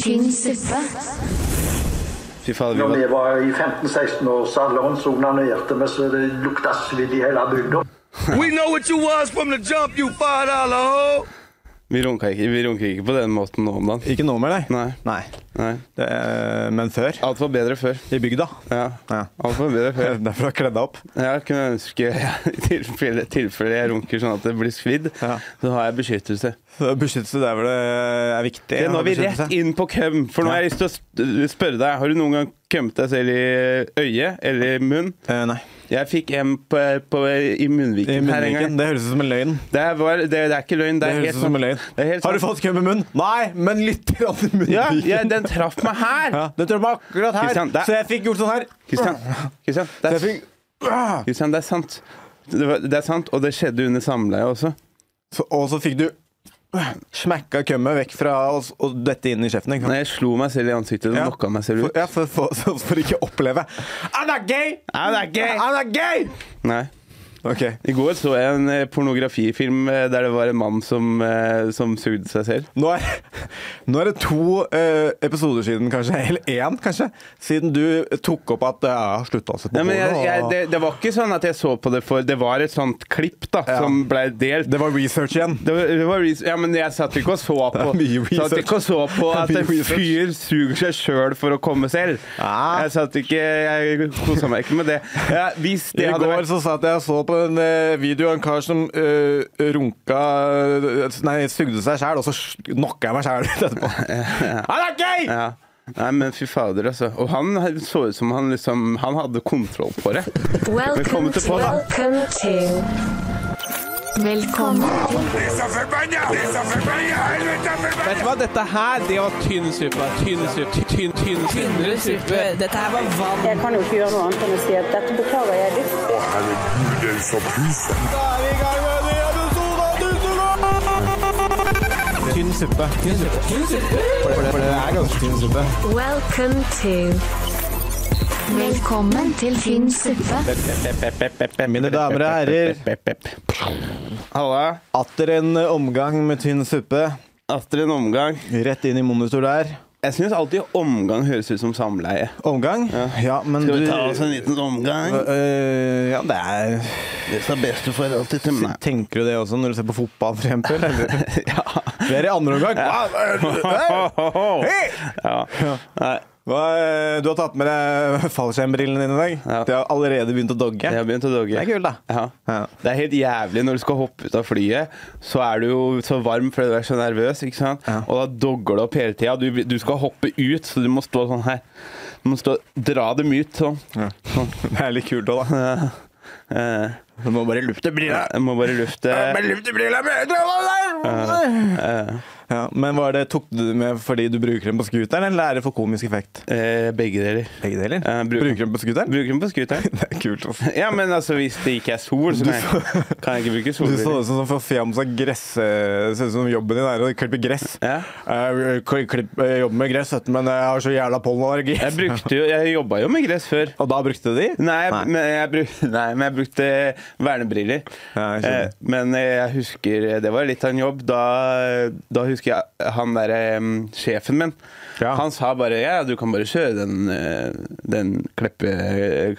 Tynn suppe. Fy faen, vi Når var vi var i 15-16 års alderen, så onanerte vi så det lukta svidd i hele bygda. We know what you was from the jump, you five dollar hoe. Vi runka ikke, vi runker ikke på den måten nå om dagen. Ikke nå mer, nei. Nei. Nei. Nei. Det, er- men før. Alt var bedre før. I bygda. Ja. Ja. Alt var bedre før. Derfor har jeg kledd deg opp. Jeg kunne ønske, i tilfelle, tilfelle jeg runker sånn at det blir svidd, Ja. så har jeg beskyttelse. Så Beskyttelse der hvor det er viktig. Det, nå å ha er vi beskyttelse. rett inn på køm, for nå har jeg lyst til å sp- spørre deg. Har du noen gang kømt deg selv i øyet eller i munn? Eh, nei. Jeg fikk en på, på, i I munnviken her en munnviken. gang. Det høres ut som en løgn. Det, er bare- det, det er ikke løgn. Det Det er høres helt ut som en sant. løgn. Det er helt Har du sant. fått køm i munnen? Nei, men litt grann i munnviken. Ja, ja, den traff meg her! Ja, det tror jeg var akkurat her. Kristian, det er- Så jeg fikk gjort sånn her. Kristian, Kristian, det, Så er- jeg fikk... Kristian, det er sant. Det, var, det er sant, og det skjedde under samleie også. Så, og så fikk du smekka kømmet vekk fra oss og dette inn i kjeften. Ikke sant? Når jeg slo meg selv i ansiktet og Ja. knocka meg selv For, ut. ja, for, for, for, for ikke å oppleve I'm not gay! I'm not gay! I'm not gay! Nei. Ok. I går så jeg en eh, pornografifilm eh, der det var en mann som, eh, som sugde seg selv. Nå er, nå er det to eh, episoder siden, kanskje, eller én, kanskje, siden du tok opp at eh, jeg har slutta å se på Nei, men jeg, porno, jeg, og- det, det var ikke sånn at jeg så på det for Det var et sånt klipp da, Ja. som blei delt. det var research igjen. Det var, det var res- ja, men jeg satt ikke og så på Det er mye Satt ikke og så på research. at Det er en mye research. fyr suger seg sjøl for å komme selv. Ah. Jeg satt ikke Jeg kosa meg ikke med det. Ja, hvis det I hadde går vært så satt jeg og så på en eh, video av en kar som eh, runka eh, Nei, sugde seg sjæl, og så sj- knocka jeg meg sjæl ut etterpå. Han er gay! ja. Nei, men fy fader, altså. Og han så ut som han liksom Han hadde kontroll på det. Welcome Velkommen til to, podden. welcome to. Velkommen Esa verbanya, esa verbanya, helvete verbanya. Vet du hva, dette her, det var tynn suppe. Tynn suppe. Tynn, tynn, tynn suppe. Dette her var vann. Jeg kan jo ikke gjøre noe annet enn å si at dette beklager jeg dypt. Å, herregud, det er så pysen. Tynn suppe. Tynn suppe. For, det, for det er ganske tynn suppe. Welcome to. Velkommen til tynn suppe. Mine damer og herrer, Halla. atter en eh, omgang med tynn suppe. Atter en omgang. Rett inn i monitor der. Jeg syns alltid omgang høres ut som samleie. Omgang? Ja, men Skal du vi ta oss en liten omgang? Eh, ja, det er Det sa bestefar alltid til meg. Tenker du det også når du ser på fotball, for eksempel? eller? Ja. Vi er i andre omgang. Wow. Hey! ja. Nei, Hva, eh, du har tatt med deg fallskjermbrillene dine i dag. Ja. De har allerede begynt å dogge. jeg har begynt å dogge. Det er kult, da. Ja. Ja. Det er helt jævlig når du skal hoppe ut av flyet. Så er du jo så varm fordi du er så nervøs, ikke sant? Ja. og da dogger det opp hele tida. Du, du skal hoppe ut, så du må stå sånn her. Du må stå, dra dem ut sånn. Det er litt kult òg, da. Eh, Du må bare lufte brillene. jeg må bare lufte lufte brillene eh, ja, men var det, Tok du det med fordi du bruker dem på scooteren, eller er det for komisk effekt? eh, Begge deler. Begge deler. Eh, bruk- Bruker dem på scooteren? Bruker den på scooteren. Det er kult, altså. Ja, men altså, hvis det ikke er sol, så kan jeg, kan jeg ikke bruke Du så solbriller. ut som sånn forfjamsa gress... eh, Ser ut som jobben din er å klippe gress. Ja. Eh, kli- klipp- eh, jobber med gress, vet du, men jeg har så jævla pollenallergi. Jeg brukte jo Jeg jobba jo med gress før. Og da brukte du de? Nei, Nei. Men, jeg bruk, nei, men jeg brukte vernebriller. Ja, jeg skjønner. Eh, men eh, jeg husker Det var litt av en jobb. Da, da husker jeg han derre sjefen min. Ja. Han sa bare ja, du kan bare kjøre den, eh, den kleppe,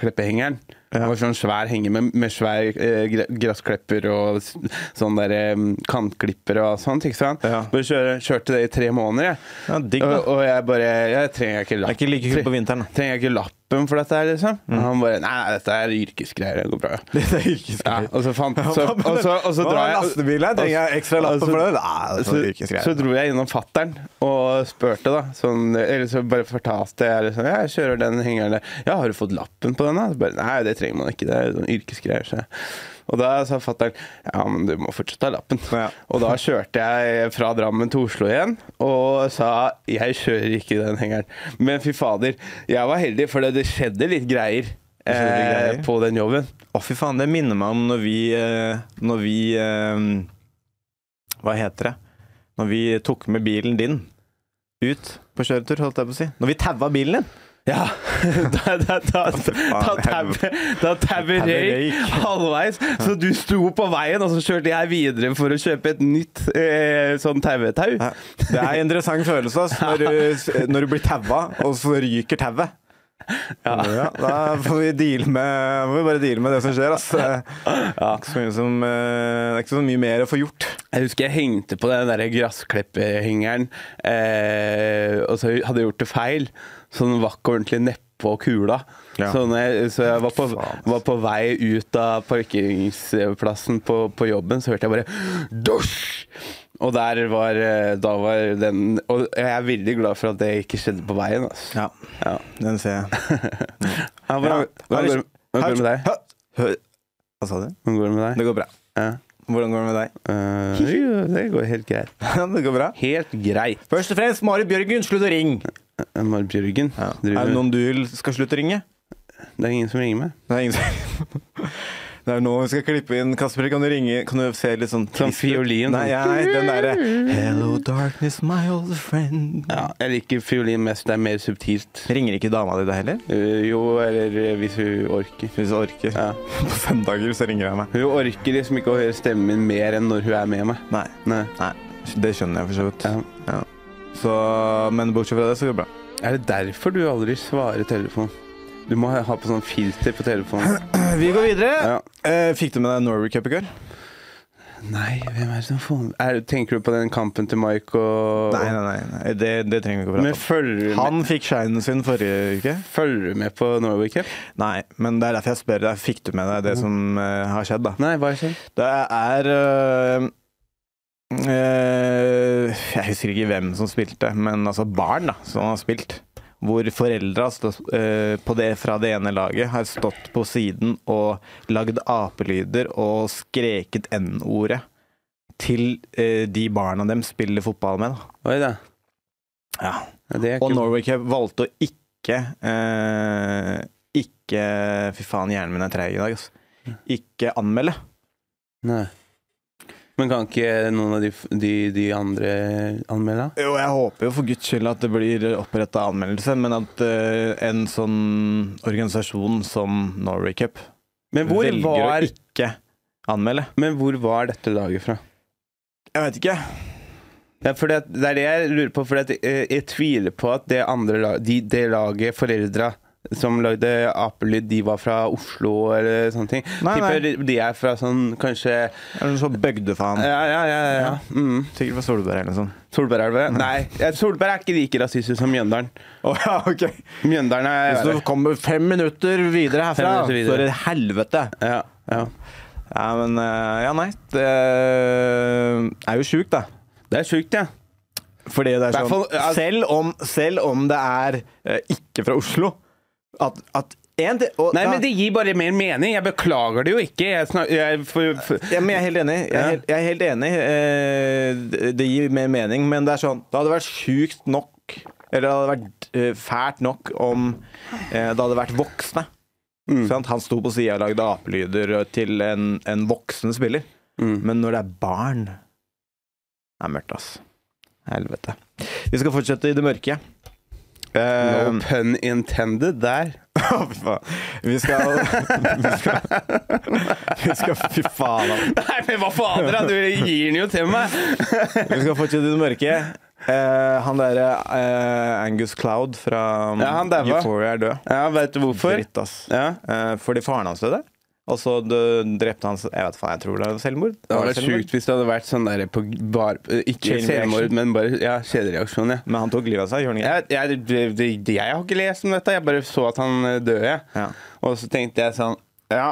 kleppehengeren. Det var sånn svær henger med, med svær eh, gre- gressklipper og s- sånn der eh, kantklipper og sånt. ikke sant? Ja. Bare kjøre, kjørte det i tre måneder, jeg. Ja, digg, da. og, og jeg bare Jeg trenger ikke Det er ikke like kult på vinteren. Mm. da. Trenger jeg ikke lappen for dette her, liksom? Og han bare Nei, nei, dette er yrkesgreier. Det går bra. Dette er Ja, yrkesgreier. og så fant så, Hva med- og så, og så hva med drar jeg lastebil her? Trenger jeg ekstra lappen og så- for det? Nei, det er sånn så, yrkesgreier. så dro jeg innom fattern og spurte, da. Sånn, eller så bare fortalte jeg liksom Ja, jeg kjører den hengeren der. Ja, har du fått lappen på den, da? Så Bare, Nei, det trenger man ikke. Det er sånn yrkesgreier. Så. jeg- Og da sa fattern ja, men du må fortsatt ha lappen. Ja. Og da kjørte jeg fra Drammen til Oslo igjen og sa jeg kjører ikke den hengeren. Men fy fader, jeg var heldig, for det skjedde litt greier. skjedde Eh, litt greier? på den jobben. Å, fy faen, det minner meg om når vi eh, Når vi eh, Hva heter det? Når vi tok med bilen din ut på kjøretur, holdt jeg på å si. Når vi taua bilen din! Ja. Da, da, da, da, tab, da tabber røyk halvveis. Så du sto på veien, og så kjørte jeg videre for å kjøpe et nytt eh, sånn tauetau. Ja. Det er en interessant følelse ass, når, du, når du blir taua, og så ryker tauet. Ja, da får vi, deale med, må vi bare deale med det som skjer. Ass. Det er ikke så mye, som, eh, det er ikke så mye mer å få gjort. Jeg husker jeg hengte på den der gassklippehengeren, eh, og så hadde jeg gjort det feil. Så den var ikke ordentlig nedpå kula. Ja. Så, når jeg, så jeg var på, Faen. var på vei ut av parkeringsplassen på, på jobben, så hørte jeg bare dusj! Og der var, eh, da var den Og jeg er veldig glad for at det ikke skjedde på veien. Altså. Ja, Ja. den ser jeg. Ja, hvordan, hvordan, går, hvordan går det med deg? Hø- Hva sa du? Hvordan går det med deg? Det går bra. Ja. Hvordan går det med deg? Eh, jo, det går helt greit. det går bra. Helt greit. Først og fremst, Mari Bjørgen, slutt å ringe! Eh, Marit Bjørgen, Er det driver- noen du vil- skal slutte å ringe? det er ingen som ringer meg? Det er ingen som Det er nå vi skal klippe inn. Kasper, kan du ringe? Kan du se litt sånn Sånn trist ut? fiolin. Nei, ja, nei, den derre Hello darkness, my old friend. Ja, jeg liker fiolin mest, det er mer subtilt. Ringer ikke dama di deg heller? Eh, jo, eller eh, hvis hun orker. Hvis du orker. Ja. På søndager så ringer jeg meg. Hun orker liksom ikke å høre stemmen min mer enn når hun er med meg. Nei. Nei. nei. Det skjønner jeg for så vidt. Ja. Ja. Så, men bortsett fra det, så går det bra. Er det derfor du aldri svarer telefonen? Du må ha ha på sånn filter på telefonen. Vi går videre. Ja. Eh, fikk du med deg Norway Cup i går? Nei, hvem er det som får er, Tenker du på den kampen til Mike og Nei, nei, nei. nei. Det, det trenger vi ikke å Men prate om. følger du, med, Han fikk shinen sin forrige uke. følger du med på Norway Cup? Nei, men det er derfor jeg spør deg. Fikk du med deg det som eh, har skjedd, da? Nei, hva skjer? Det er øh, øh, Jeg husker ikke hvem som spilte, men altså barn da, som har spilt. Hvor foreldra stå- øh, på det, fra det ene laget har stått på siden og lagd apelyder og skreket N-ordet til øh, de barna dem spiller fotball med. Da. Oi da. Ja. Ja, det er Og ikke- Norway Cup valgte å ikke øh, Ikke Fy faen, hjernen min er treig i dag, altså. Ikke anmelde. Nei. Men kan ikke noen av de, f- de, de andre anmelde? Jo, jeg håper jo for guds skyld at det blir oppretta anmeldelse, men at eh, en sånn organisasjon som Norway Cup Men hvor, velger var, å ikke anmelde. men hvor var dette laget fra? Jeg vet ikke. Ja, for det, det er det jeg lurer på, for jeg, jeg tviler på at det andre laget, de, det laget foreldra som lagde apelyd, de var fra Oslo eller sånne ting. Nei, nei. Tipper de er fra sånn kanskje Er det noe sånn bygdefaen? Ja, ja, ja. ja, ja. Mm. Sikkert fra Solberg eller noe sånt. Solbergelva. Mm. Nei, eh, Solberg er ikke like rasistisk som Mjøndalen. Å ja, ok. Mjøndalen er Hvis du kommer fem minutter videre Fem herfra, minutter videre. så er det helvete. ja, ja. Ja, men eh, Ja, nei. Det eh, er jo sjukt, da. Det er sjukt, ja. Fordi det er Hvert sånn fall, ja. selv, om, selv om det er eh, ikke fra Oslo At, at en til og Nei, da- men det gir bare mer mening. Jeg beklager det jo ikke. Jeg snak, jeg, for, for, Ja, men jeg er helt enig. Jeg er Ja. helt, jeg er helt enig. Eh, det- Det gir mer mening, men det er sånn Det hadde vært sjukt nok, eller det hadde vært eh, fælt nok om eh, det hadde vært voksne. Sant? Han sto på sida og lagde apelyder eh, til en, en voksen spiller. Men når det er barn Det er mørkt, ass. Helvete. Vi skal fortsette i det mørke. Eh, no pun intended der. Å, Fy faen. Vi skal Vi skal, vi skal Fy faen, ass. Nei, men hva faen, da? Du gir den jo til meg. Vi skal fortsette i det mørke. Eh, han derre eh, Angus Cloud fra um, Ja, han daua. Euphoria er død. Ja, veit du hvorfor? Dritt, ass. Ja. Eh, fordi faren hans døde. Og så dø- drepte han Jeg vet faen, jeg tror det var selvmord. Det hadde Var det vært selvmord? sjukt hvis det hadde vært sånn der på bar, Ikke Chain selvmord, reaction. men bare ja, kjedereaksjon, ja. Men han tok livet av seg, gjorde han ikke? Jeg, jeg, det- det- jeg har ikke lest om dette, jeg bare så at han eh, døde. jeg. Ja. Og så tenkte jeg sånn Ja,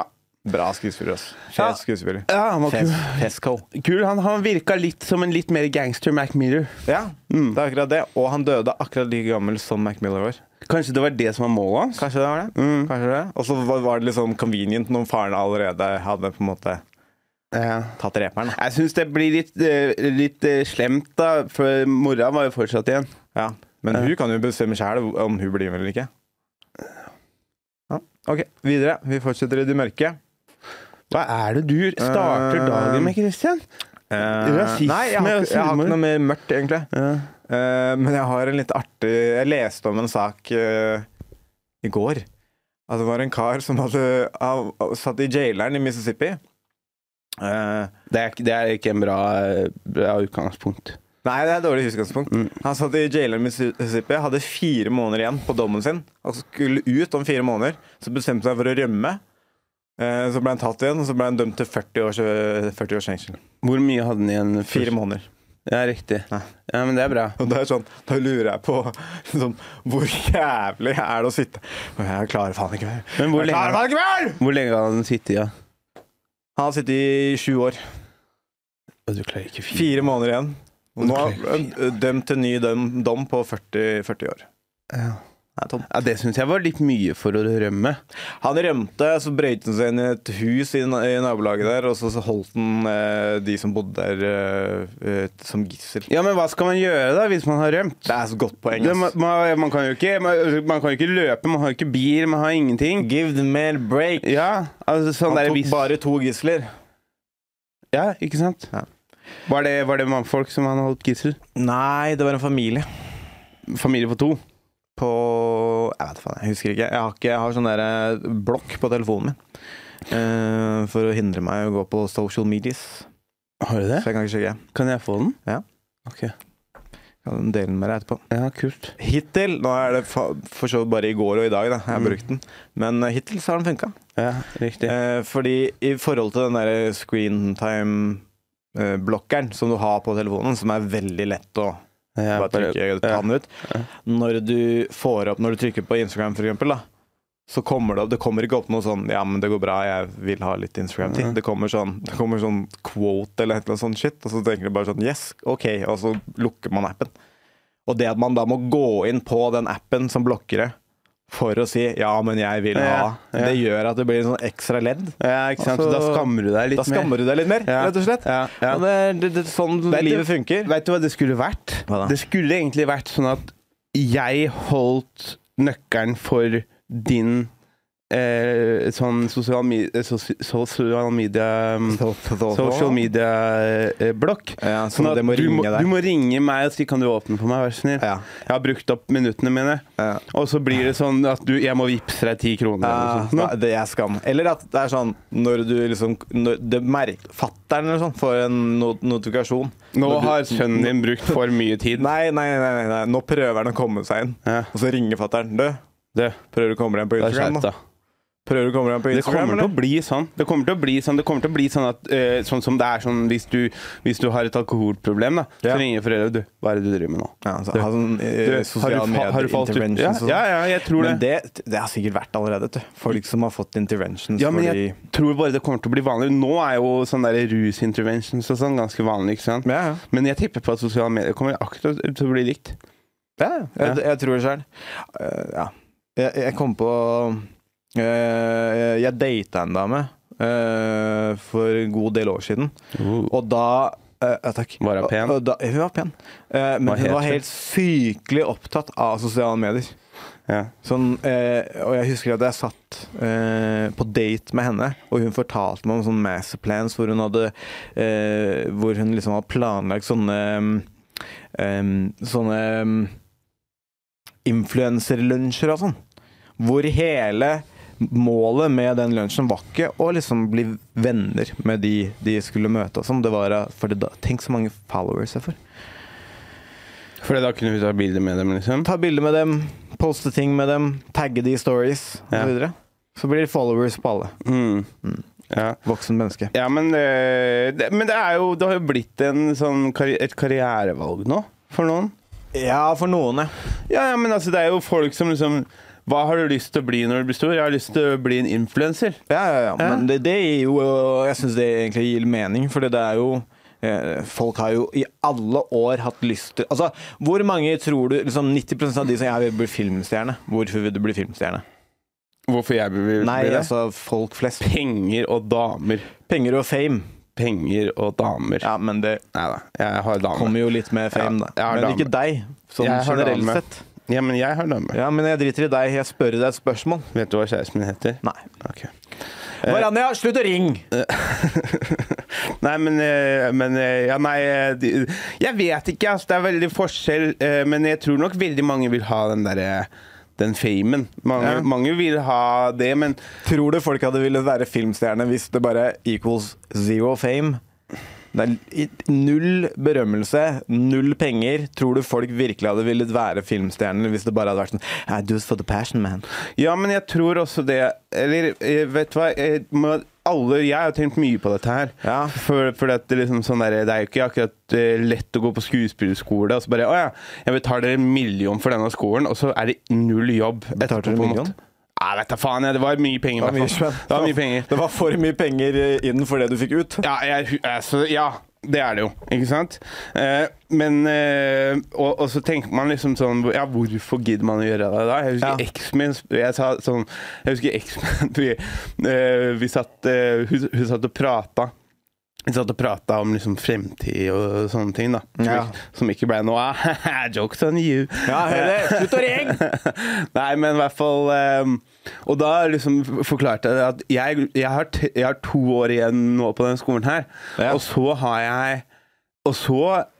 Bra skuespiller, ass. Ja. Fet skuespiller. ja han var kul. Fes- Fesco. kul. Han, han virka litt som en litt mer gangster Mac Miller. Mm. Ja, det er akkurat det. Og han døde akkurat like gammel som Mac Miller var. Kanskje det var det som var målet hans? Mm. Kanskje det var det? Kanskje det? Og så var var det litt sånn convenient når faren allerede hadde på en måte Ja. tatt reperen. da. Jeg syns det blir litt, eh, litt eh, slemt, da, for mora var jo fortsatt igjen. Ja. Men hun kan jo bestemme sjæl om hun blir med eller ikke. Ja. OK, videre. Vi fortsetter i det mørke. Hva er det du starter Eh, dagen med, Christian? Eh, Rasisme nei, jeg og har, ikke, jeg har selvmord. ikke noe mer mørkt, egentlig. Ja. Eh, men jeg har en litt artig Jeg leste om en sak eh, i går at det var en kar som hadde av- av- satt i jaileren i Mississippi. Eh, Det er, ikke- det er ikke en bra, eh, bra utgangspunkt. Nei, det er et dårlig utgangspunkt. Han satt i jaileren i Mississippi, hadde fire måneder igjen på dommen sin, og skulle ut om fire måneder. Så bestemte han seg for å rømme. Eh, Så ble han tatt igjen, og så ble han dømt til 40 års, 40 års fengsel. Hvor mye hadde den igjen? først? Fire måneder. Ja, riktig. Nei. Ja, men det er bra. Og da, er det sånn, da lurer jeg på liksom, hvor jævlig er det å sitte Men Jeg klarer faen ikke mer! Men hvor Jeg klarer lenge, faen ikke mer! hvor lenge hadde den sittet i? Ja? Han har sittet i sju år. Du klarer ikke Fire måneder igjen. Og nå Ok, er han dømt til ny døm, dom på 40, 40 år. Ja. Det er tomt. Ja, det syns jeg var litt mye for å rømme. Han rømte, så brøyt han seg inn i et hus i, na- i nabolaget der, og så så holdt han eh, de som bodde der, eh, eh, som gissel. Ja, men hva skal man gjøre da, hvis man har rømt? Det er så godt poeng. Det, man, ass. man, man, kan jo ikke, man, man kan jo ikke løpe, man har jo ikke bil, man har ingenting. Give the man a break. Ja, altså sånn Han der tok hvis bare to gisler. Ja, ikke sant? Ja. Var det, var det mannfolk som han holdt gissel? Nei, det var en familie Familie på to? på Jeg vet faen, jeg husker ikke. Jeg har, ikke, jeg har sånn der eh, blokk på telefonen min. eh, for å hindre meg i å gå på social medias. Har du det? Så jeg kan ikke sjekke. Kan jeg få den? Ja. Ok. Jeg kan dele den med deg etterpå. Ja, kult. Hittil Nå er det fa- for så vidt bare i går og i dag da, jeg har Mm. brukt den. Men eh, hittil så har den funka. Ja, riktig. Eh, fordi i forhold til den der screentime-blokkeren som du har på telefonen, som er veldig lett å Ja, bare bare- trykke ta den ut ja. Når du får opp Når du trykker på Instagram, for eksempel, da, så kommer det opp Det kommer ikke opp noe sånn 'Ja, men det går bra, jeg vil ha litt Instagram-tid'. Mhm. Det kommer sånn Det kommer sånn quote eller et eller annet sånt shit, og så tenker du bare sånn 'Yes, OK', og så lukker man appen. Og det at man da må gå inn på den appen som blokker det, for å si 'Ja, men jeg vil Ja, ha', ja. det gjør at det blir en sånn ekstra ledd. ja, ikke sant? Så Altså, da skammer du deg litt Da skammer du deg litt mer, Ja. rett og slett. Ja, ja. Og det, er- det, det, sånn Vet du- livet funker. Vet du hva det skulle vært? Hva da? Det skulle egentlig vært sånn at jeg holdt nøkkelen for din eh, sånn sosial, mi- eh, sosi- sosial media um, Social eh, media-blokk. Ja, så det må Sånn du, ringe må, deg. du må ringe meg og si 'kan du åpne for meg', vær så snill. Ja. Jeg har brukt opp minuttene mine. Ja. Og så blir det sånn at du, jeg må vippse deg ti kroner. Ja, eller noe sånt. Ah, nei, det er skam. Eller at det er sånn når du liksom når det merk, Fatteren eller sånn får en no notifikasjon. Nå Når du- har sønnen din brukt for mye tid. Nei, nei, nei, nei, nei. Nå prøver han å komme seg inn. Ja. Og så ringer fatteren. Du, Du, prøver du å komme deg inn på det er Instagram? skjerp Da? deg. Prøver du å komme deg inn på Det Instagram? kommer til å eller? bli sånn. Det kommer til å bli sånn, det kommer til å bli sånn at eh, Sånn som det er sånn hvis du, hvis du har et alkoholproblem, da, Ja. så ringer foreldre du, 'Hva er det du driver med nå?' Ja, altså, Du- ha sånn, eh, Du, har, sosiale du, fa- har du falt ut? medier-interventions Ja, og sånn. ja, ja, jeg tror det. Men det, det har sikkert vært allerede. vet du. Folk som har fått interventions Ja, men fordi jeg tror bare det kommer til å bli vanlig. Nå er jo sånn der rusinterventions og sånn ganske vanlig, ikke sant? ja, ja. Men jeg tipper på at sosiale medier kommer akkurat til å bli likt. Ja, ja. jeg, jeg tror det sjøl. ja. Jeg, jeg kom på eh, Jeg data en dame eh, for en god del år siden, Oh. og da eh, ja, takk. Var hun pen? Og- og Da, hun var pen. Eh, Hva men hun het var hun? helt sykelig opptatt av sosiale medier. Ja. Sånn, eh, og jeg husker at jeg satt eh, på date med henne, og hun fortalte meg om sånne masterplans hvor hun hadde eh, Hvor hun liksom hadde planlagt sånne em, Sånne um, influenserlunsjer og sånn. Hvor hele målet med den lunsjen var ikke å liksom bli venner med de de skulle møte og sånn. Det var eh, For det da, tenk så mange followers jeg får. Fordi da kunne vi ta bilder med dem, liksom? ta bilder med dem, poste ting med dem, tagge de i stories Ja. osv. videre Så blir det followers på alle. Mm. Ja. Voksen menneske. Ja, men, øh, det, men det er jo Det har jo blitt en sånn karri et karrierevalg nå, for noen. Ja, for noen, ja. Ja, ja, men altså, det er jo folk som liksom Hva har du lyst til å bli når du blir stor? Jeg har lyst til å bli en influenser. Ja, ja, ja. Men det, det gir jo Jeg syns det egentlig gir mening, for det er jo eh, Folk har jo i alle år hatt lyst til Altså, hvor mange tror du liksom 90 av de som jeg vil bli filmstjerne. Hvorfor vil du bli filmstjerne? Hvorfor jeg vil bli Nei, det? altså folk flest. Penger og damer. Penger og fame. Penger og damer. Ja, men det Nei da, jeg har dame. kommer jo litt med Ja, fame, jeg da. har Men dame. ikke deg, sånn Jeg har generelt dame. sett. Ja, men jeg har dame. Ja, men jeg driter i deg. Jeg spør deg et spørsmål. Vet du hva kjæresten min heter? Nei. Ok. Varanja, slutt å ringe! Nei, men, eh, men eh, Ja, nei eh, de- Jeg vet ikke, altså. Det er veldig forskjell. eh, Men jeg tror nok veldig mange vil ha den derre den famen. Mange, Ja. mange vil ha det, men Tror du folk hadde villet være filmstjerne hvis det bare equals zero fame? Det er i- null berømmelse, null penger. Tror du folk virkelig hadde villet være filmstjerner hvis det bare hadde vært sånn I do it for the passion, man. Ja, men jeg tror også det Eller eh, vet du hva jeg, må, alle, jeg har tenkt mye på dette her. Ja. For, for at det, er liksom sånn der, det er jo ikke akkurat eh, lett å gå på skuespillerskole og så bare Å ja, jeg betaler en million for denne skolen, og så er det null jobb. Betalte du etterpå, på en million? måte. Nei, vet da faen. Jeg, det var mye penger. i Det var hvert mye fall. spenn. Det var mye penger. Det var for mye penger eh, inn for det du fikk ut. Ja, jeg, hu- altså, ja, det er det jo, ikke sant? Eh, men eh, og, og så tenker man liksom sånn Ja, hvorfor gidder man å gjøre det da? Jeg husker Ja. X-Men Jeg sa sånn Jeg husker X-Men vi, eh, vi satt eh, hun, hun satt og prata. Vi satt og prata om liksom fremtid og sånne ting, da. Som, Ja. ikke, som ikke ble noe av. Jokes on you. Ja, hør det. Slutt å ringe! Nei, men i hvert fall ehm, Og da liksom forklarte jeg det at jeg, jeg, har t jeg har to år igjen nå på den skolen her, Ja. og så har jeg og så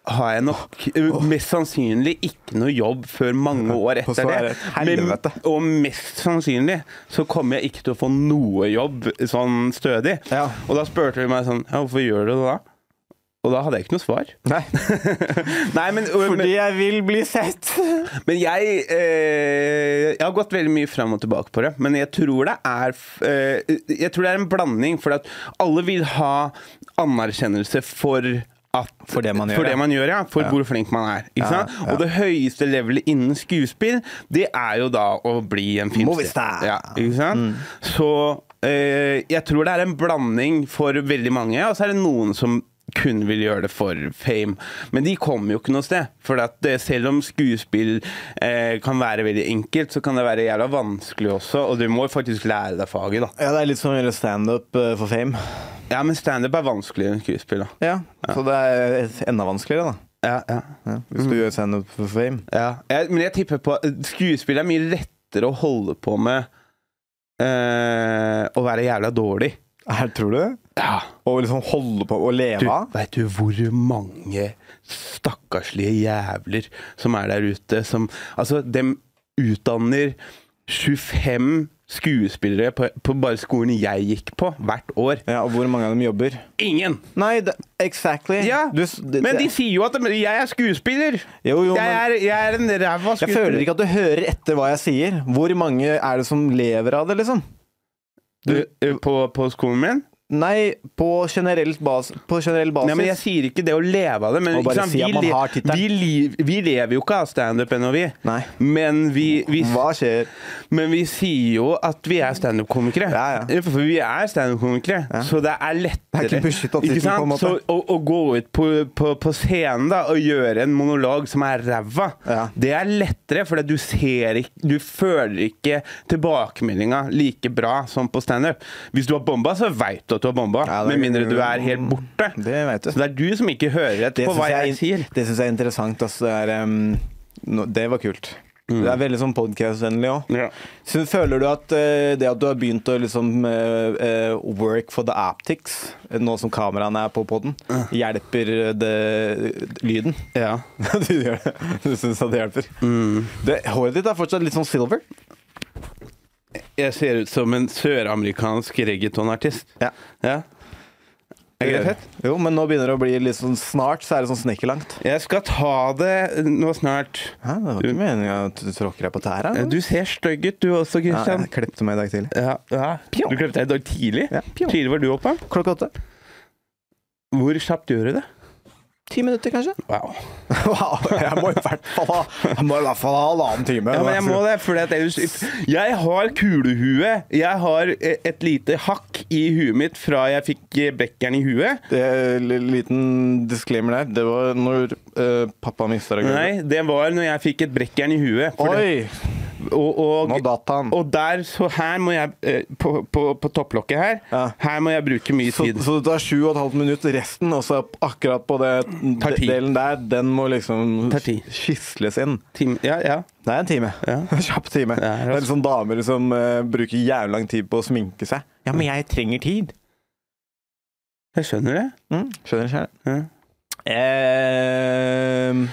har jeg nok eh, mest sannsynlig ikke noe jobb før mange år Og så etter er det. det et helvete. og mest sannsynlig så kommer jeg ikke til å få noe jobb sånn stødig. Ja. Og da spurte hun meg sånn Ja, hvorfor gjør du det da? Og da hadde jeg ikke noe svar. Nei, Nei, men, men, fordi jeg vil bli sett. men jeg eh, Jeg har gått veldig mye fram og tilbake på det, men jeg tror det er f- eh, Jeg tror det er en blanding, for at alle vil ha anerkjennelse for at, For det man gjør, for, ja. ja. for Ja. hvor flink man er. Ikke Ja, sant? ja. Og det høyeste levelet innen skuespill, det er jo da å bli en Movistar. filmstjerne. Ja, ikke sant? Så eh, jeg tror det er en blanding for veldig mange, og så er det noen som kun vil gjøre det for fame. Men de kommer jo ikke noe sted. For at eh, selv om skuespill eh, kan være veldig enkelt, så kan det være jævla vanskelig også. Og du må jo faktisk lære deg faget, da. Ja, det er litt som å gjøre standup eh, for fame. Ja, men standup er vanskeligere enn skuespill, da. Ja, Så det er eh, enda vanskeligere, da. Ja, ja. Ja, hvis du gjør standup for fame. ja. Jeg, men jeg tipper på eh, Skuespill er mye lettere å holde på med eh, å være jævla dårlig. Her, tror du det? Ja. Og liksom holde på å leve Du, av? Veit du hvor mange stakkarslige jævler som er der ute, som Altså, dem utdanner 25 skuespillere på, på bare skolen jeg gikk på, hvert år. Ja, og hvor mange av dem jobber? Ingen! Nei, det, exactly. Ja, Du s- det- Men de det- sier jo at de, jeg er skuespiller! Jo, jo, jeg, men- er, jeg er en ræva jeg skuespiller. føler ikke at du hører etter hva jeg sier. Hvor mange er det som lever av det, liksom? du, eh, på, på skolen min? Nei, på, generelt bas, på generell basis Nei, men Jeg sier ikke det å leve av det, men Og Altså, bare ikke sant, si at man le- har tittelen. vi, liv- vi lever jo ikke av standup ennå, vi. Nei. Men vi, vi Hva skjer? Men vi sier jo at vi er standup-komikere. Ja, ja. For vi er standup-komikere, så det er lettere Det er ikke bullshit-artikkel, Ikke sant? på en måte. Så å, å gå ut på, på, på scenen da, og gjøre en monolog som er ræva, Ja. det er lettere, for du ser ikke Du føler ikke tilbakemeldinga like bra som på standup. Hvis du har bomba, så veit du at du har bomba, Ja, det er- med mindre du er helt borte. Det vet du. Så det er du som ikke hører etter Det på syns hva jeg, jeg, sier. det syns jeg er interessant. Altså, det, er, um, no, det var kult. Det er veldig sånn podcast-vennlig òg. Mm. Ja. Så Føler du at eh, det at du har begynt å liksom eh, eh, work for the aptics, nå som kameraene er på poden, hjelper det lyden? Ja. du gjør det. Du syns at det hjelper? Mm. Det, håret ditt er fortsatt litt sånn silver. Jeg ser ut som en søramerikansk reggaetonartist. Ja. Ja. Er ikke det fett? Jo, men nå begynner det å bli litt sånn snart, så er det sånn snekkerlangt. Jeg skal ta det nå snart. Hæ, det var Du- ikke meninga at du tråkker deg på tæra? eller? Du ser stygg ut, du også, ja, Christian. jeg klipte meg i dag tidlig. Ja, ja. Du klippet deg i dag tidlig. Ja, pjong. Tidlig var du oppe. Klokka åtte. Hvor kjapt gjør du det? Ti minutter, kanskje? Wow. Wow, jeg må i hvert fall ha Jeg må i hvert fall ha halvannen time. Ja, men jeg må det, fordi at ellers Jeg har kulehue. Jeg har eh, et lite hakk i huet mitt fra jeg fikk eh, bekkeren i huet. Det er en Liten disclaimer der. Det var når eh, pappa mista det gulvet. Nei, det var når jeg fikk et brekkjern i huet. for det- Oi! og, og, Nå datt han. og der, så her må jeg eh, På, på, på topplokket her, Ja. her må jeg bruke mye Så, tid. så det tar sju og et halvt minutt resten, og så akkurat på det, Tar tid. delen der, den må liksom Tar tid. skisles inn. Time. Ja, ja. Det er en time. Ja. En Kjapp time. Ja, det er liksom damer som eh, bruker jævlig lang tid på å sminke seg. Ja, men jeg trenger tid. Jeg skjønner det. Mm, skjønner ikke jeg. Ja. Eh,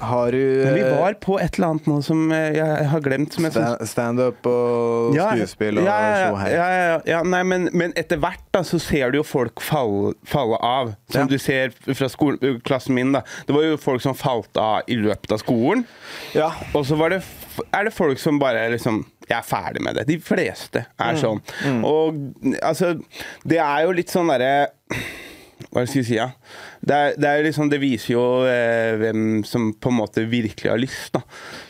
Har du Men vi eh, var på et eller annet nå som eh, jeg har glemt. Som jeg syns- sta- standup og skuespill og ja, ja, show her? ja, ja, ja, ja, nei, men, men etter hvert da, så ser du jo folk falle, falle av. Som Ja. du ser fra skole, klassen min. da Det var jo folk som falt av i løpet av skolen. Ja. Og så var det, f- er det folk som bare liksom Jeg er ferdig med det. De fleste Mm. er sånn. Og altså Det er jo litt sånn derre hva skal jeg si, ja? Det, er, det, er jo liksom, det viser jo eh, hvem som på en måte virkelig har lyst. Da.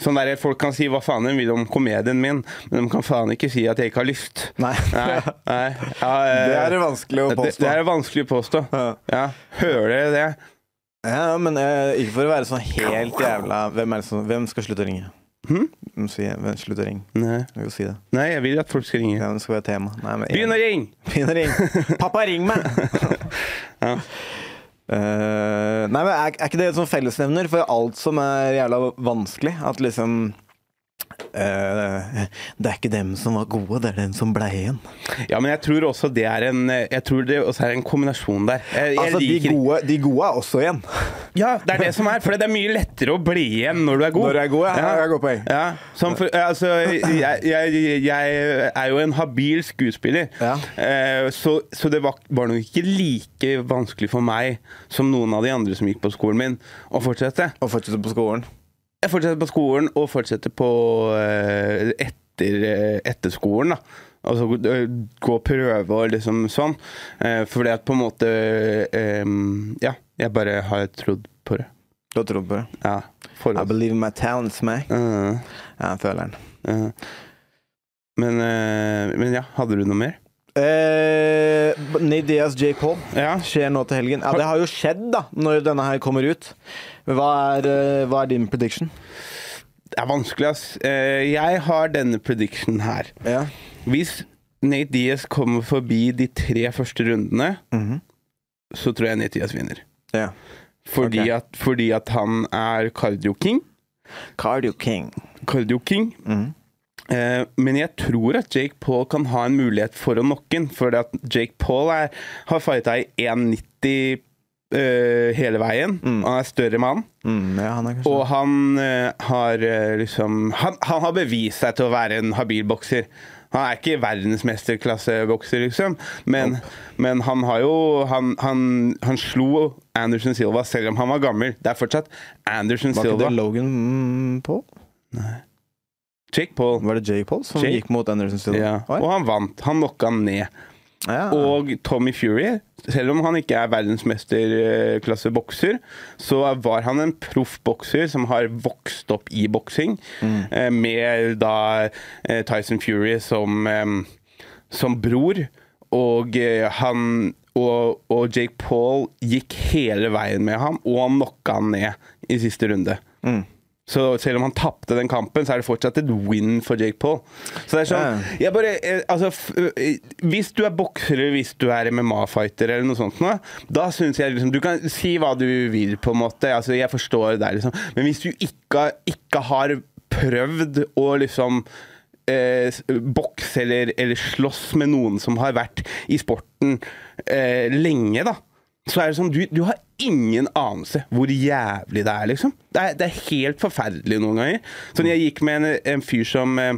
Sånn der, Folk kan si hva faen de vil om komedien min, men de kan faen ikke si at jeg ikke har lyst. Nei. nei, nei. Ja, eh, Det er det vanskelig å Det, det påstå. er vanskelig å påstå. Ja. Ja. Hører dere det? Ja, men eh, ikke for å være sånn helt jævla Hvem, er det som, hvem skal slutte å ringe? Hm? Hmm? Si, hvem slutter å ringe. Nei. Jeg vil si det. nei, jeg vil at folk skal ringe. Ja, det skal være tema. Nei, men- Begynn å ringe! Begynn å ringe. Pappa, ring meg! Ja. Eh, nei, men er, er ikke det en sånn fellesnevner for alt som er jævla vanskelig? At liksom eh, Det er ikke dem som var gode, det er den som blei igjen. Ja, men jeg tror også det er en Jeg tror det også er en kombinasjon der. Jeg, jeg Altså, de liker- gode, de gode er også igjen. Ja, det er det som er. For det er mye lettere å bli igjen når du er god. Når du er god, ja. Ja, det er et godt poeng. Ja, som for, altså, jeg, jeg, jeg er jo en habil skuespiller, Ja. Eh, så, så det var, var nok ikke like vanskelig for meg som noen av de andre som gikk på skolen min, å fortsette. Og fortsette på skolen. Jeg fortsetter på skolen og fortsetter på eh, etter, eh, etter skolen, da. Altså eh, gå og prøve og liksom sånn. Eh, Fordi at på en måte eh, Ja, jeg bare har trodd på det. Du har trodd på det. Ja. I Forhold. believe in my talents, man. Eh, Ja, jeg føler den. eh. Men, eh, men ja, hadde du noe mer? Eh, Nate Diaz J. Paul Ja. skjer nå til helgen. Ja, Det har jo skjedd, da, når denne her kommer ut. Men Hva er, eh, hva er din prediction? Det er vanskelig, ass. Eh, Jeg har denne prediction her. Ja. Hvis Nate Diaz kommer forbi de tre første rundene, så tror jeg Nate Diaz vinner. Mhm. Ja. Fordi, Ok. at, fordi at han er cardio king. Cardio King. Mhm. Cardio king. Eh, men jeg tror at Jake Paul kan ha en mulighet for å knocke han. For at Jake Paul er, har fighta i 1,90 eh, hele veien. Han er større mann. Mm, ja, han er kanskje Og han eh, har eh, liksom han, han har bevist seg til å være en habil bokser. Han er ikke verdensmesterklassebokser, liksom, men, men han har jo han, han, han slo Anderson Silva selv om han var gammel. Det er fortsatt Anderson Var ikke Silva. det Logan mm, Paul? Jake Paul. Var det Jake Paul som Jake? gikk mot Anderson Silva? Ja. Oi. Og han vant. Han knocka han ned. ja. Og Tommy Fury, selv om han ikke er verdensmesterklassebokser, så var han en proff bokser som har vokst opp i boksing, eh, med da eh, Tyson Fury som, eh, som bror. Og eh, han og, og Jake Paul gikk hele veien med ham, og han knocka han ned i siste runde. Så selv om han tapte den kampen, så er det fortsatt et win for Jake Paul. Så det er sånn jeg bare, eh, altså, f eh, Hvis du er bokser eller hvis du er MMA-fighter eller noe sånt, nå, da syns jeg liksom Du kan si hva du vil, på en måte. Altså, jeg forstår det, liksom. Men hvis du ikke, ikke har prøvd å liksom eh, s- bokse eller, eller slåss med noen som har vært i sporten eh, lenge, da. Så er det som du, du har ingen anelse hvor jævlig det er, liksom. Det er, det er helt forferdelig noen ganger. Sånn jeg gikk med en, en fyr som eh,